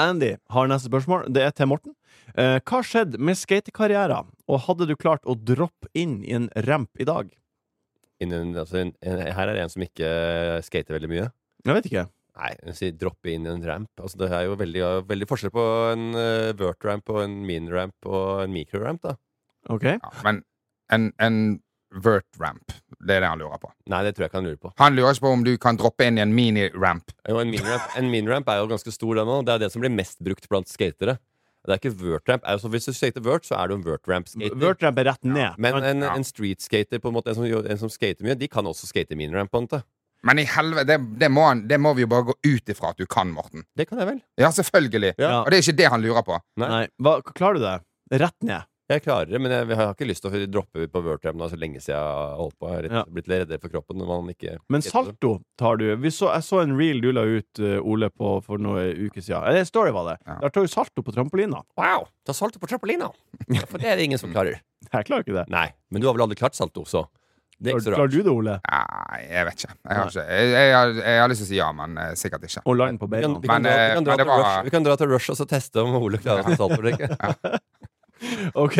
[SPEAKER 2] Andy har neste spørsmål. Det er til Morten. Eh, hva skjedde med skatekarrieren, og hadde du klart å droppe inn i en ramp i dag?
[SPEAKER 5] Innen, altså, en, en, her er det en som ikke eh, skater veldig mye.
[SPEAKER 2] Jeg vet ikke.
[SPEAKER 5] Nei, jeg sier droppe inn i en ramp. Altså, det er jo veldig, veldig forskjell på en eh, vert-ramp og en min-ramp og en mikro-ramp, da.
[SPEAKER 2] OK?
[SPEAKER 4] Ja, men en, en vert ramp, det er det han lurer på.
[SPEAKER 5] Nei, det tror jeg ikke han lurer på.
[SPEAKER 4] Han lurer ikke på om du kan droppe inn i en mini-ramp.
[SPEAKER 5] Jo, en miniramp en miniramp er jo ganske stor, den òg. Det er den som blir mest brukt blant skatere. Det er ikke vert-ramp. Altså, hvis du skater vert, så er du en vert-ramp-skater.
[SPEAKER 2] Vert-ramp er rett ned.
[SPEAKER 5] Men
[SPEAKER 2] Han-
[SPEAKER 5] en,
[SPEAKER 4] Ja.
[SPEAKER 5] en street-skater, på en måte, en som, gjør- en som skater mye, de kan også skate miniramp. på en måte.
[SPEAKER 4] Men i helvete, det, det, må han, det må vi jo bare gå ut ifra at du kan, Morten.
[SPEAKER 5] Det kan jeg vel.
[SPEAKER 4] Ja, selvfølgelig.
[SPEAKER 5] Ja.
[SPEAKER 4] Og det er ikke det han lurer på.
[SPEAKER 2] Nei. Hva, klarer du det? Rett ned.
[SPEAKER 5] Jeg klarer det, men jeg, jeg har ikke lyst til å droppe på vert-ramp nå så lenge siden jeg har holdt på. Jeg har rett,
[SPEAKER 2] Ja.
[SPEAKER 5] blitt litt reddere for kroppen når man ikke
[SPEAKER 2] Men
[SPEAKER 5] skater.
[SPEAKER 2] salto tar du. Vi så, jeg så en reel du la ut, eh, Ole, på for noen uker siden. Eller en story var det.
[SPEAKER 4] Ja.
[SPEAKER 2] Der tar du salto på trampolina. [laughs]
[SPEAKER 5] Wow! Ta salto på trampolina! Ja, For det er det ingen som klarer.
[SPEAKER 2] Jeg klarer ikke det.
[SPEAKER 5] Nei, men du har vel aldri klart salto, så det
[SPEAKER 2] Klarer,
[SPEAKER 5] er ikke så
[SPEAKER 2] klarer
[SPEAKER 5] rart.
[SPEAKER 2] du det, Ole?
[SPEAKER 4] Nei, jeg vet ikke. Jeg har, ikke, jeg, jeg, har- jeg har lyst til å si ja, men eh, sikkert ikke.
[SPEAKER 2] Å lande på
[SPEAKER 5] Vi kan,
[SPEAKER 2] beina.
[SPEAKER 5] vi, kan
[SPEAKER 4] Men,
[SPEAKER 5] dra, vi,
[SPEAKER 4] eh,
[SPEAKER 5] kan dra
[SPEAKER 4] men det
[SPEAKER 5] til
[SPEAKER 4] var-
[SPEAKER 5] Rush, vi kan dra til Rush og så teste om Ole klarer å ta salto eller
[SPEAKER 2] [laughs]
[SPEAKER 5] ikke.
[SPEAKER 2] OK.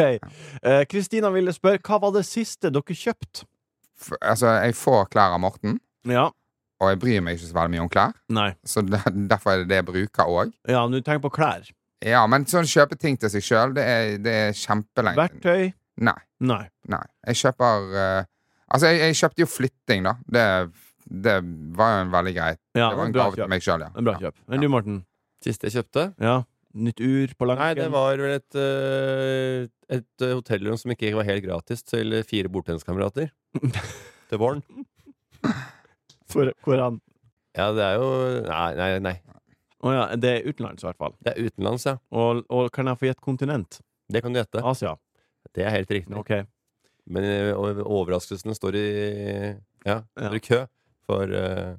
[SPEAKER 2] Eh, Kristina ville spørre hva var det siste dere kjøpte?
[SPEAKER 4] F altså, jeg får klær av Morten,
[SPEAKER 2] Ja.
[SPEAKER 4] og jeg bryr meg ikke så veldig mye om klær.
[SPEAKER 2] Nei.
[SPEAKER 4] Så [laughs] der, derfor er det det jeg bruker òg.
[SPEAKER 2] Ja, nå tenker jeg på klær.
[SPEAKER 4] Ja, men sånn kjøpe ting til seg sjøl, det, er- det er kjempelenge.
[SPEAKER 2] Verktøy?
[SPEAKER 4] Nei.
[SPEAKER 2] Nei.
[SPEAKER 4] Nei. Jeg kjøper eh, Altså, jeg, jeg kjøpte jo flytting, da. Det, det var jo en veldig greit.
[SPEAKER 2] Ja,
[SPEAKER 4] det var en
[SPEAKER 2] bra
[SPEAKER 4] gave til
[SPEAKER 2] kjøp.
[SPEAKER 4] meg sjøl, ja.
[SPEAKER 2] En bra
[SPEAKER 4] ja.
[SPEAKER 2] kjøp. Men du, Morten?
[SPEAKER 5] Siste jeg kjøpte?
[SPEAKER 2] Ja. Nytt ur på
[SPEAKER 5] Nei, det
[SPEAKER 2] langken?
[SPEAKER 5] var vel et, eh, et eh, hotellrom som ikke var helt gratis til fire bordtenniskamerater.
[SPEAKER 2] [laughs]
[SPEAKER 5] til våren.
[SPEAKER 2] Hvor- Hvor han
[SPEAKER 5] Ja, det er jo Nei, nei, nei.
[SPEAKER 2] Å ja, det er utenlands, i hvert fall.
[SPEAKER 5] Det er utenlands, ja.
[SPEAKER 2] Og, og kan jeg få gjette kontinent?
[SPEAKER 5] Det kan du gjette.
[SPEAKER 2] Asia?
[SPEAKER 5] Det er helt riktig.
[SPEAKER 2] OK.
[SPEAKER 5] Men eh, o- overraskelsene står i Ja, står i kø for, eh,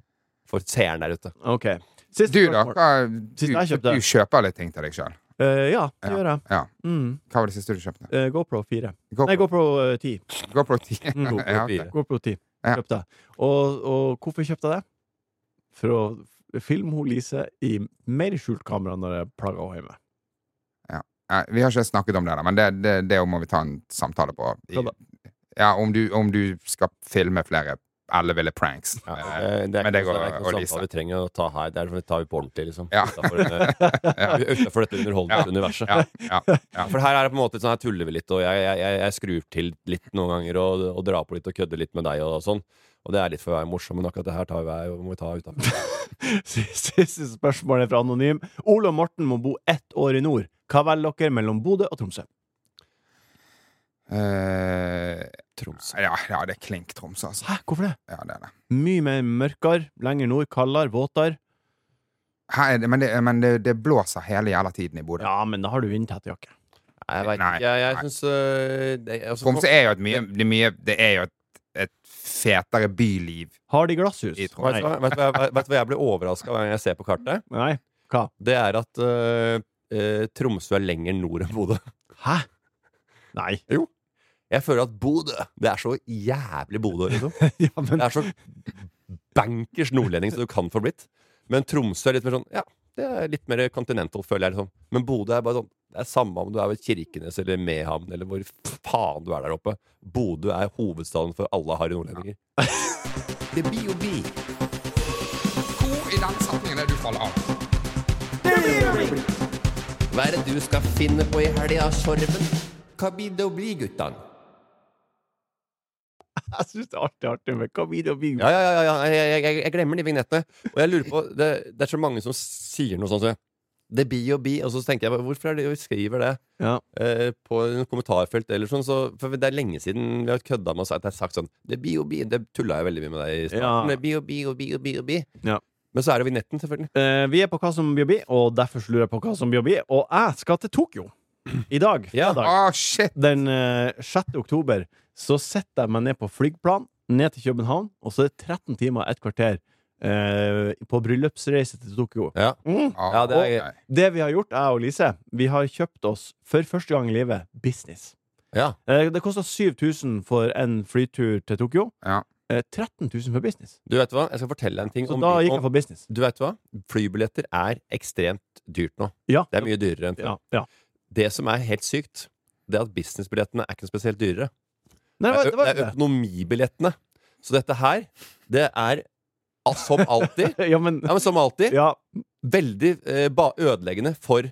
[SPEAKER 5] for seeren der ute.
[SPEAKER 2] ok Siste
[SPEAKER 4] Du, da?
[SPEAKER 2] spørsmål.
[SPEAKER 4] Hva, du,
[SPEAKER 2] Siste jeg kjøpte.
[SPEAKER 4] du kjøper litt ting til deg sjøl.
[SPEAKER 2] Eh, ja, det
[SPEAKER 4] Ja.
[SPEAKER 2] gjør jeg.
[SPEAKER 4] Ja.
[SPEAKER 2] Mm.
[SPEAKER 4] Hva var det siste du kjøpte?
[SPEAKER 2] Eh, GoPro 4.
[SPEAKER 4] Gå
[SPEAKER 2] Nei,
[SPEAKER 4] på,
[SPEAKER 2] GoPro eh, 10.
[SPEAKER 4] gå på ti.
[SPEAKER 2] Mm, GoPro
[SPEAKER 4] [laughs] Ja, ok.
[SPEAKER 5] 4.
[SPEAKER 2] GoPro 10
[SPEAKER 4] Ja.
[SPEAKER 2] kjøpte jeg. Og, og hvorfor kjøpte jeg det? For å f- filme hun Lise i mer skjult kamera når jeg plager henne hjemme.
[SPEAKER 4] Nei, vi har ikke snakket om det, da, men det, det, det må vi ta en samtale på.
[SPEAKER 2] Ja
[SPEAKER 4] I,
[SPEAKER 2] da.
[SPEAKER 4] ja, om du, om du skal filme flere elleville pranks.
[SPEAKER 5] Ja,
[SPEAKER 4] Eh,
[SPEAKER 5] eh, det er ikke
[SPEAKER 4] men
[SPEAKER 5] noe
[SPEAKER 4] det går
[SPEAKER 5] det er ikke
[SPEAKER 4] å
[SPEAKER 5] noe
[SPEAKER 4] lyse.
[SPEAKER 5] samtale vi trenger å ta her. Det er noe vi tar vi på ordentlig, liksom.
[SPEAKER 4] Ja.
[SPEAKER 5] Utenfor,
[SPEAKER 4] [laughs]
[SPEAKER 5] denne, utenfor dette underholdningsuniverset.
[SPEAKER 4] Ja,
[SPEAKER 2] [laughs]
[SPEAKER 4] ja, ja.
[SPEAKER 5] For her er det på en måte sånn her tuller vi litt, og jeg, jeg, jeg- jeg skrur til litt noen ganger og, og drar på litt og kødder litt med deg og, sånn. Og det er litt for å være morsom, men akkurat det her tar vi, hver- må vi ta
[SPEAKER 4] [laughs]
[SPEAKER 5] utenfor.
[SPEAKER 2] [laughs] Siste spørsmål er fra Anonym. Ole og Morten må bo ett år i nord. Hva velger dere mellom Bodø og Tromsø?
[SPEAKER 4] Eh,
[SPEAKER 5] Troms.
[SPEAKER 4] ja, ja, det er klink Tromsø, altså.
[SPEAKER 2] Hæ, hvorfor det?
[SPEAKER 4] Ja, det er det.
[SPEAKER 2] Mye mer mørkere, lenger nord, kaldere, våtere.
[SPEAKER 4] Her er det men det, men det, det blåser hele jævla tiden i Bodø.
[SPEAKER 2] Ja, men da har du vindtett jakke.
[SPEAKER 5] Nei, jeg vet
[SPEAKER 4] Nei,
[SPEAKER 5] ikke. Jeg, jeg
[SPEAKER 4] nei.
[SPEAKER 5] syns øh, det- altså,
[SPEAKER 4] Tromsø er jo et mye Det, er mye, det er jo et, et fetere byliv.
[SPEAKER 2] Har de glasshus?
[SPEAKER 4] I
[SPEAKER 5] Vet du
[SPEAKER 2] Nei.
[SPEAKER 5] hva- vet du hva jeg- vet du hva jeg blir overraska hver gang jeg ser på kartet?
[SPEAKER 2] Nei. Hva?
[SPEAKER 5] Det er at øh, øh, Tromsø er lenger nord enn Bodø.
[SPEAKER 2] Hæ? Nei. [laughs]
[SPEAKER 5] Jeg føler at Bodø Det er så jævlig Bodø, liksom.
[SPEAKER 4] [laughs]
[SPEAKER 2] ja, men
[SPEAKER 5] Det er så [laughs] bankers nordlending som du kan få blitt. Men Tromsø er litt mer sånn Ja, det er litt mer continental, føler jeg. Liksom. Men Bodø er bare sånn Det er samme om du er ved Kirkenes eller Mehamn eller hvor faen du er der oppe. Bodø er hovedstaden for alle harry nordlendinger.
[SPEAKER 6] [laughs] Det blir jo bi.
[SPEAKER 4] Hvor i den setningen er det du faller av?
[SPEAKER 6] Hva er det du skal finne på i helga, Sorven? Hva blir det å bli, guttan?
[SPEAKER 2] jeg syns det er artig, artig med hva blir det å bli?
[SPEAKER 5] Ja, ja, ja, ja, ja jeg, jeg, jeg glemmer de vignettene. Og jeg lurer på Det, det er så mange som sier noe sånt som Det blir jo bi, og så tenker jeg bare, Hvorfor er det vi skriver det
[SPEAKER 2] Ja.
[SPEAKER 5] eh, på en kommentarfelt eller sånn? Så, for det er lenge siden vi har kødda med oss at jeg har sagt sånn Det blir jo bi. Det tulla jeg veldig mye med deg i
[SPEAKER 2] Ja.
[SPEAKER 5] starten. Det blir jo bi og bi og bi og bi.
[SPEAKER 2] Ja.
[SPEAKER 5] Men så er det vignetten, selvfølgelig.
[SPEAKER 2] Eh, vi er på hva som blir å bli, og derfor så lurer jeg på hva som blir å bli. Og jeg skal til Tokyo i dag.
[SPEAKER 5] Ja.
[SPEAKER 2] Fredag.
[SPEAKER 4] Å, Ah, shit!
[SPEAKER 2] Den eh, 6. oktober så setter jeg meg ned på flyplan ned til København, og så er det 13 timer, et kvarter, eh, på bryllupsreise til Tokyo.
[SPEAKER 5] Ja.
[SPEAKER 2] Mm.
[SPEAKER 4] Ah,
[SPEAKER 5] Ja, det er
[SPEAKER 4] ok.
[SPEAKER 2] Det vi har gjort, jeg og Lise, vi har kjøpt oss for første gang i livet business.
[SPEAKER 5] Ja.
[SPEAKER 2] Eh, det kosta 7000 for en flytur til Tokyo.
[SPEAKER 4] Ja.
[SPEAKER 2] Eh, 13 000 for business.
[SPEAKER 5] Du vet hva, jeg skal fortelle deg en ting
[SPEAKER 2] Så
[SPEAKER 5] om,
[SPEAKER 2] da gikk jeg
[SPEAKER 5] om
[SPEAKER 2] for business.
[SPEAKER 5] Du vet hva? Flybilletter er ekstremt dyrt nå.
[SPEAKER 2] Ja.
[SPEAKER 5] Det er mye dyrere enn før.
[SPEAKER 2] Ja, ja.
[SPEAKER 5] Det som er helt sykt, det er at businessbillettene er ikke noe spesielt dyrere.
[SPEAKER 2] Nei, det var,
[SPEAKER 5] Det er,
[SPEAKER 2] det var
[SPEAKER 5] ø- det
[SPEAKER 2] ikke
[SPEAKER 5] er økonomibillettene. Så dette her, det er al- som
[SPEAKER 2] [laughs]
[SPEAKER 5] alltid
[SPEAKER 2] det. Ja, men
[SPEAKER 5] ja, men Som alltid
[SPEAKER 2] Ja.
[SPEAKER 5] veldig eh, ba ødeleggende for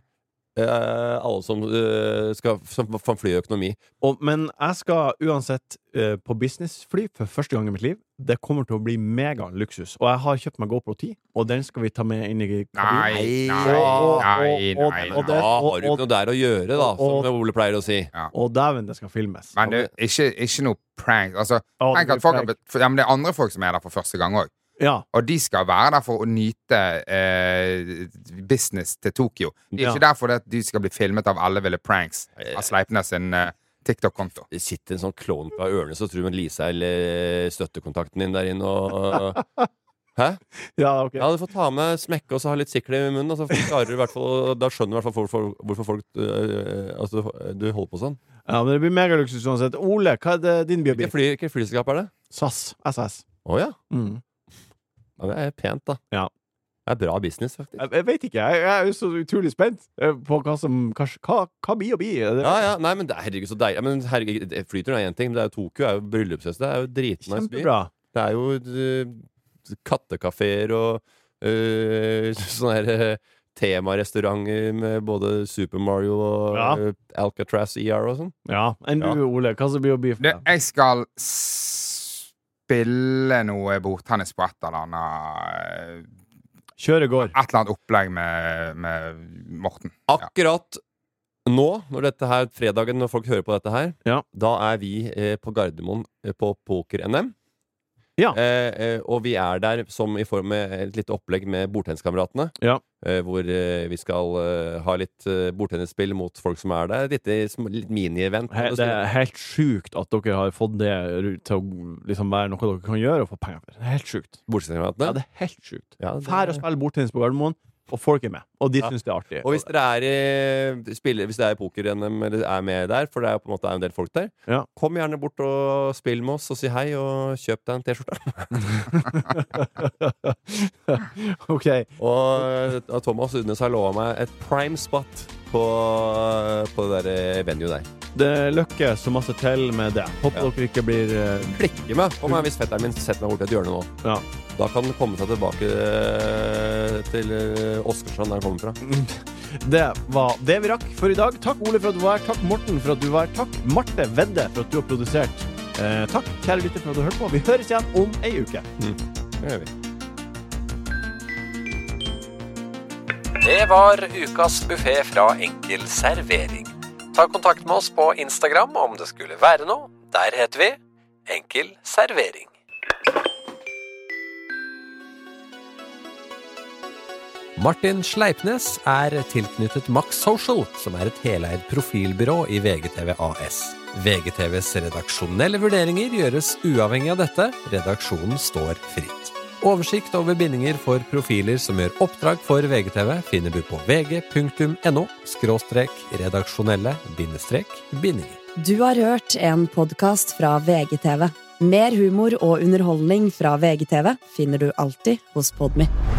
[SPEAKER 5] eh, alle som, eh, skal, som som flyr økonomi.
[SPEAKER 2] Og, men jeg skal uansett eh, på businessfly for første gang i mitt liv. Det kommer til å bli megaluksus. Og jeg har kjøpt meg GoPro 10, og den skal vi ta med inn i
[SPEAKER 4] Nei,
[SPEAKER 2] kabinen.
[SPEAKER 4] nei,
[SPEAKER 2] Og- og-
[SPEAKER 4] nei,
[SPEAKER 2] og-
[SPEAKER 4] nei,
[SPEAKER 2] og
[SPEAKER 5] Da
[SPEAKER 2] det-
[SPEAKER 4] nei.
[SPEAKER 5] har du ikke noe der å gjøre, da,
[SPEAKER 2] og-
[SPEAKER 5] som Ole pleier å si.
[SPEAKER 2] Og dæven, det skal filmes.
[SPEAKER 4] Men det, ikke, ikke noe prank. Altså,
[SPEAKER 2] Å, det
[SPEAKER 4] tenk
[SPEAKER 2] blir
[SPEAKER 4] at folk har,
[SPEAKER 2] prank.
[SPEAKER 4] bet- ja, men det er andre folk som er der for første gang òg.
[SPEAKER 2] Ja.
[SPEAKER 4] Og de skal være der for å nyte eh, business til Tokyo. De er
[SPEAKER 2] Ja.
[SPEAKER 4] ikke der fordi at de skal bli filmet av elleville pranks av Sleipnes sin eh, TikTok-konto.
[SPEAKER 5] Det sitter en sånn klovn fra ørene som tror hun Lisa eller eh, støttekontakten din der inne og
[SPEAKER 2] [laughs]
[SPEAKER 5] Hæ?
[SPEAKER 2] ja, ok.
[SPEAKER 5] Ja, du får ta med smekke og så ha litt sikle i munnen. Og så klarer du i hvert fall Da skjønner du i hvert fall hvorfor, hvorfor folk øh, Altså, du holder på sånn.
[SPEAKER 2] Ja, men det blir megaluksus uansett. Ole, hva er det din biobil?
[SPEAKER 5] Hvilket fly, hvilket flyselskap er det?
[SPEAKER 2] SAS. SS.
[SPEAKER 5] Å ja.
[SPEAKER 2] Mm.
[SPEAKER 5] ja. Det er pent, da.
[SPEAKER 2] Ja.
[SPEAKER 5] Det er bra business, faktisk.
[SPEAKER 2] Jeg, jeg vet ikke. Jeg, jeg er jo så utrolig spent eh, på hva som Hva, hva, hva blir å bli. Det-
[SPEAKER 5] Ja, ja, nei, men det, herregud, så deilig. Ja, Men herregud, det- Flyturen er én ting, men det er jo Tokyo er jo bryllupsfest. Det er jo dritnice by.
[SPEAKER 2] Kjempebra.
[SPEAKER 5] Det er jo øh, kattekafeer og øh, [laughs] sånne her øh, temarestauranter med både Super Mario og
[SPEAKER 2] Ja.
[SPEAKER 5] øh, Alcatraz ER og sånn.
[SPEAKER 2] Ja. Enn du, Ole? Hva som blir å bli for
[SPEAKER 4] Det,
[SPEAKER 2] deg?
[SPEAKER 4] jeg skal spille noe bordtennis på et eller annet eh,
[SPEAKER 2] Kjøre går.
[SPEAKER 4] Et eller annet opplegg med, med Morten.
[SPEAKER 5] Akkurat nå, når dette her, fredagen når folk hører på dette her,
[SPEAKER 2] Ja.
[SPEAKER 5] da er vi eh, på Gardermoen eh, på Poker-NM.
[SPEAKER 2] Ja.
[SPEAKER 5] Eh, eh, og vi er der som i form av et lite opplegg med bordtenniskameratene.
[SPEAKER 2] Ja.
[SPEAKER 5] Eh, hvor eh, vi skal eh, ha litt eh, bordtennisspill mot folk som er der. Et lite sm- litt mini-event.
[SPEAKER 2] He, det er helt sjukt at dere har fått det ru- til å liksom være noe dere kan gjøre og få penger for. Det er helt sjukt.
[SPEAKER 5] Bordtenniskameratene.
[SPEAKER 2] Ja, det er helt sjukt.
[SPEAKER 5] Ja, det-
[SPEAKER 2] Fær å spille bordtennis på Gardermoen, og folk er med. Og de syns det er artig.
[SPEAKER 5] Og hvis dere er i, eh, spiller, hvis det er i poker-NM eller er med der, for det er jo på en måte en del folk der,
[SPEAKER 2] Ja.
[SPEAKER 5] kom gjerne bort og spill med oss og si hei, og kjøp deg en T-skjorte.
[SPEAKER 2] [laughs] OK.
[SPEAKER 5] Og eh, Thomas Udnes har lova meg et prime spot på, eh, på det der venue der.
[SPEAKER 2] Det lykke så masse til med det. Håper
[SPEAKER 5] Ja.
[SPEAKER 2] dere ikke blir eh,
[SPEAKER 5] Klikke meg på meg hvis fetteren min setter meg bort i et hjørne nå.
[SPEAKER 2] Ja.
[SPEAKER 5] Da kan han komme seg tilbake eh, til eh, Åsgårdstrand, der han kommer fra.
[SPEAKER 2] Det var det vi rakk for i dag. Takk, Ole, for at du var her. Takk, Morten, for at du var her. Takk, Marte Vedde, for at du har produsert. Eh, takk, kjære lytter, for at du hørte på. Vi høres igjen om ei uke.
[SPEAKER 5] Det gjør vi. Det var ukas buffé fra Enkel servering. Ta kontakt med oss på Instagram om det skulle være noe. Der heter vi Enkel servering. Martin Sleipnes er tilknyttet Max Social, som er et heleid profilbyrå i VGTV AS. VGTVs redaksjonelle vurderinger gjøres uavhengig av dette. Redaksjonen står fritt. Oversikt over bindinger for profiler som gjør oppdrag for VGTV, finner du på vg.no redaksjonelle bindinger.
[SPEAKER 1] Du har hørt en podkast fra VGTV. Mer humor og underholdning fra VGTV finner du alltid hos Podmy.